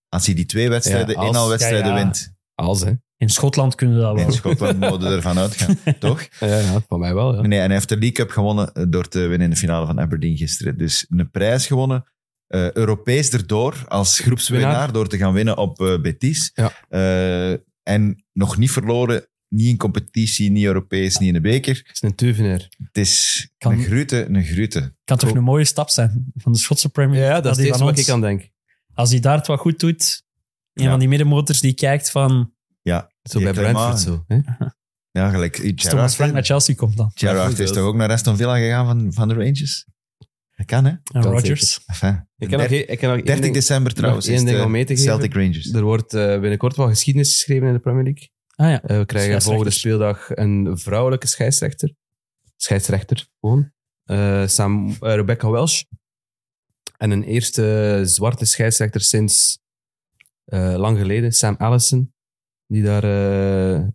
als hij die twee wedstrijden,
Ja, als-
inhaalwedstrijden
Ja, ja.
wint,
hè. Als, hè.
In Schotland kunnen we dat wel.
in Schotland mogen we ervan uitgaan, toch?
Ja, ja, van mij wel, ja.
Nee, en hij heeft de League Cup gewonnen eh, door te winnen in de finale van Aberdeen gisteren. Dus een prijs gewonnen, eh, Europees erdoor als groepswinnaar,
Winnaar.
door te gaan winnen op eh, Betis.
Ja.
Eh, en nog niet verloren, niet in competitie, niet Europees, niet in de beker.
Het is een teuvenaar.
Het is
Kan-
een grute, een grute.
Kan toch
Cool.
een mooie stap zijn van de Schotse Premier
Ja,
League.
dat, is
die
het eerste
van
wat
ons-
ik aan denk.
Als hij daar het wat goed doet, een
Ja.
van die middenmotors die kijkt van...
Zo
Je
bij
Clement.
Brentford zo. Hè?
Ja, gelijk. eh,
Als Thomas Frank
Gerrard,
naar Chelsea komt dan.
Gerrard is
Bijvoorbeeld.
toch ook naar Aston Villa gegaan van, van de Rangers? Dat kan, hè?
En
Kan
Rodgers.
Enfin,
Ik kan nog, één- ik kan nog één
30
ding-
december trouwens
één
is
ding
de
om mee te geven.
Celtic Rangers.
Er wordt eh, binnenkort wel geschiedenis geschreven in de Premier League.
Ah ja.
Eh, we krijgen volgende
Scheidsrechters.
speeldag een vrouwelijke scheidsrechter. Scheidsrechter, gewoon. Eh, Sam, eh, Rebecca Welsh. En een eerste zwarte scheidsrechter sinds eh, lang geleden, Sam Allison. Die daar eh,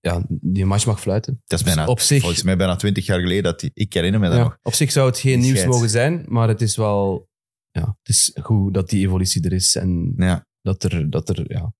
ja, die een match mag fluiten. Dus
Dat is bijna,
op zich-
volgens mij bijna 20 jaar geleden. Dat die, ik herinner me dat nog.
Ja, op zich zou het geen
Die
nieuws
scheids.
mogen zijn, maar het is wel ja, het is goed dat die evolutie er is. En
Ja.
dat, er, dat, er, ja,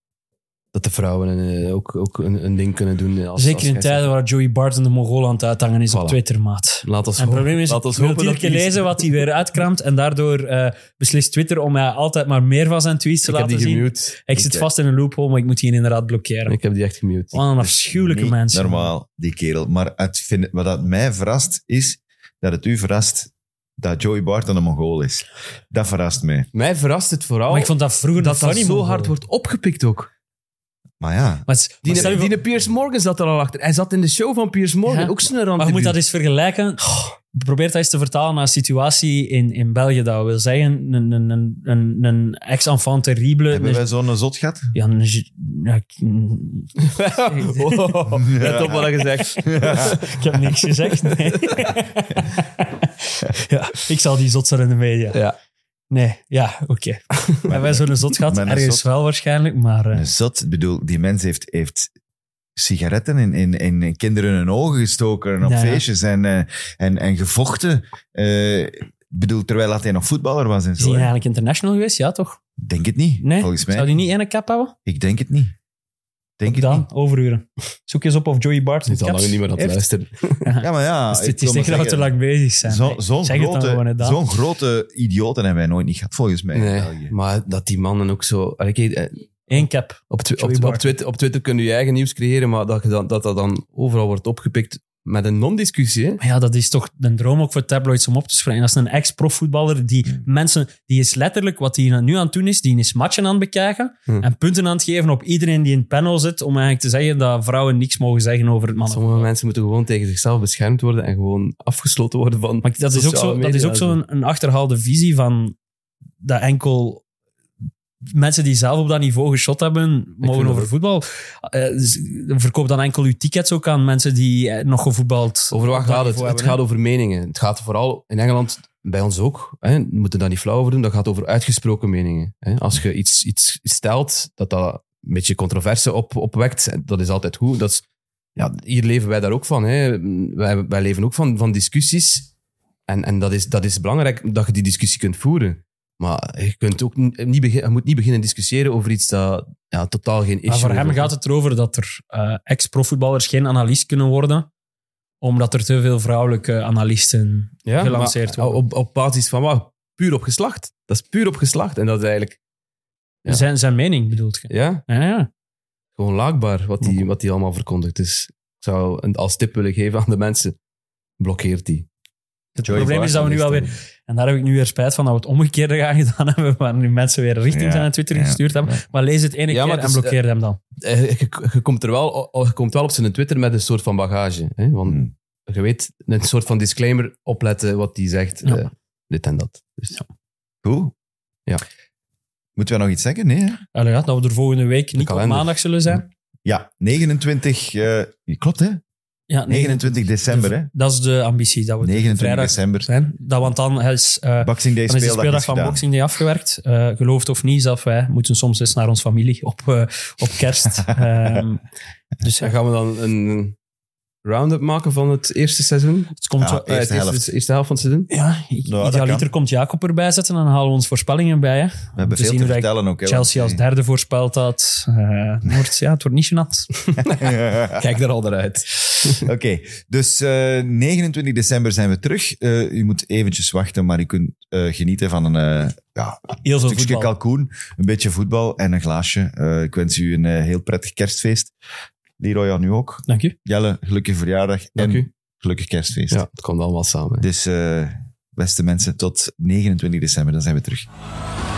dat de vrouwen eh, ook, ook een, een ding kunnen doen. Als, als
Zeker in
scheidsrechter.
tijden waar Joey Barton de Mongool aan het uithangen is
Voilà.
op Twitter, maat.
Laat ons
En het
hopen-
probleem is,
laat
ik
ons
wil
hopen
iedere
dat
keer
die-
lezen wat hij weer uitkraamt en daardoor eh, beslist Twitter om mij altijd maar meer van zijn tweets te
Ik heb die
laten zien.
gemute.
Ik zit
Oké.
vast in een loophole, maar ik moet die inderdaad blokkeren.
Ik heb die echt gemute.
Wat een afschuwelijke
Niet
mensen.
Normaal, die kerel. Maar het vind, wat dat mij verrast is dat het u verrast dat Joey Barton een Mongool is. Dat verrast mij.
Mij verrast het vooral
Maar ik vond dat vroeger
dat dat
funny
zo
move.
hard wordt opgepikt ook.
Maar ja,
Maar, het- maar
Die,
stel je
die,
voor-
Piers Morgan zat er al achter. Hij zat in de show van Piers Morgan,
Ja.
ook zo'n rand.
maar je moet dat eens vergelijken. Probeer dat eens te vertalen naar een situatie in, in België. Dat wil zeggen, een, een, een, een, een ex-enfant terrible.
hebben
een-
wij zo'n zot gehad?
ja, een, ja, ik,
wow, let op wat je zegt.
ik heb niks gezegd. nee. ja, ik zal die zot zijn in de media.
Ja.
Nee, ja, oké. Hebben wij zo'n zot gehad?
maar een
Ergens
zot-
wel waarschijnlijk, maar... eh,
Een zot, ik bedoel, die mens heeft, heeft sigaretten in, in, in, in kinderen hun ogen gestoken en op
Ja, ja.
feestjes en, eh, en, en gevochten. Eh, ik bedoel, terwijl dat hij nog voetballer was en
is hij
zo. hè.
eigenlijk international geweest? Ja, toch?
Denk het niet,
Nee?
volgens mij.
Zou die niet ene kap hebben?
Ik denk het niet. Denk het
Dan,
niet.
overuren. Zoek eens op of Joey Barton
Ik zal
caps
lang niet meer aan het
heeft.
luisteren.
Ja, maar ja.
Dus
Ah, ik
het
wil maar
is tegen dat we te
zeggen,
lang bezig zijn.
zo- Zo'n
Zeg het dan gewoon, hè,
grote,
Daan.
zo'n grote idioten hebben wij nooit niet gehad, volgens mij. in
Nee,
België.
maar dat die mannen ook zo... Allee, kijk, eh,
Eén cap.
Op, twi-
Joey
op, op,
Barton.
Twitter, op Twitter kun je je eigen nieuws creëren, maar dat, je dan, dat dat dan overal wordt opgepikt met een non-discussie. hè.
Maar ja, dat is toch een droom ook voor tabloids om op te springen. Dat is een ex-profvoetballer die
Hmm.
mensen... Die is letterlijk, wat hij nu aan het doen is, die is matchen aan het bekijken
Hmm.
en punten aan het geven op iedereen die in het panel zit om eigenlijk te zeggen dat vrouwen niks mogen zeggen over het mannen.
Sommige mensen moeten gewoon tegen zichzelf beschermd worden en gewoon afgesloten worden van.
Maar dat is ook
sociale
zo- dat is
media
ook
en
zo'n een, achterhaalde visie van dat enkel mensen die zelf op dat niveau geschot hebben, mogen
dat
over
ook.
voetbal. Eh, dus verkoop dan enkel uw tickets ook aan mensen die eh, nog gevoetbald
Over wat
op dat
gaat het?
niveau
Het
hebben,
gaat over meningen. Het gaat vooral in Engeland, bij ons ook, hè, we moeten daar niet flauw over doen, dat gaat over uitgesproken meningen. Hè. Als je iets, iets stelt dat dat een beetje controverse op, opwekt, en dat is altijd goed. Dat is, ja, hier leven wij daar ook van. Hè. Wij, wij leven ook van, van discussies. En, en dat, is, dat is belangrijk, dat je die discussie kunt voeren. Maar je, kunt ook n- niet begin- je moet niet beginnen discussiëren over iets dat ja, totaal geen issue
Maar
is.
voor hem gaat het erover dat er eh, ex-profvoetballers geen analist kunnen worden, omdat er te veel vrouwelijke analisten...
ja,
gelanceerd
maar
worden.
Op, op basis van wat? Puur op geslacht. Dat is puur op geslacht. En dat is eigenlijk Ja.
Zijn, zijn mening bedoelt je?
ja,
Ja, ja.
gewoon laakbaar wat die, wat die allemaal verkondigt. Dus ik zou een, als tip willen geven aan de mensen, blokkeert die.
Het
Joey
probleem is dat we nu
Barton
alweer
dan-
En daar heb ik nu weer spijt van dat we het omgekeerde gaan gedaan hebben, waar nu mensen weer richting
Ja,
zijn aan Twitter
ja.
gestuurd hebben. Maar lees het ene
Ja, maar
keer
het
en
is-
blokkeer hem dan.
Eh, Je, je komt er wel, je komt wel op zijn Twitter met een soort van bagage. Hè? Want
Hmm.
je weet, een soort van disclaimer, opletten wat die zegt.
Ja.
eh, dit en dat. Dus,
Goed.
Ja.
Moeten we nog iets zeggen? Nee, hè?
Allee, ja, dat we er volgende week niet op
kalender.
maandag zullen zijn.
Ja, 29... eh, klopt, hè?
Ja,
29 december, hè?
Dat is de ambitie, dat we
29
vrijdag
december.
zijn. Dat, want dan is, eh,
Boxing Day
dan is de
speeldag,
speeldag
is
van
gedaan.
Boxing Day afgewerkt. Eh gelooft of niet, zelfs wij moeten soms eens naar onze familie op, eh, op kerst. Ehm, dus ja,
Ja, gaan we dan een round-up maken van het eerste seizoen?
het komt
Ja,
wel-
Eerste
Eh, het eerste,
helft.
de eerste helft van het seizoen?
Ja, i-
dat
idealiter
kan.
komt Jacob erbij zetten en dan halen we ons voorspellingen bij. Hè.
We hebben veel
te
te
zien hoe dat ik
vertellen ook. hè,
Chelsea als
want-
derde voorspelt dat. Eh, het wordt, ja, het wordt niet gênant.
Kijk daar al naar uit.
Oké, dus eh, 29 december zijn we terug. Eh, u moet eventjes wachten, maar u kunt eh, genieten van een eh, ja,
Heel veel
stukje
voetbal.
kalkoen, een beetje voetbal en een glaasje. Eh, ik wens u een eh, heel prettig kerstfeest. Leroy, aan u ook.
Dank u.
Jelle, gelukkig verjaardag
Dank
en
u.
gelukkig kerstfeest.
Ja, het komt allemaal samen.
Dus eh, beste mensen, tot 29 december, dan zijn we terug.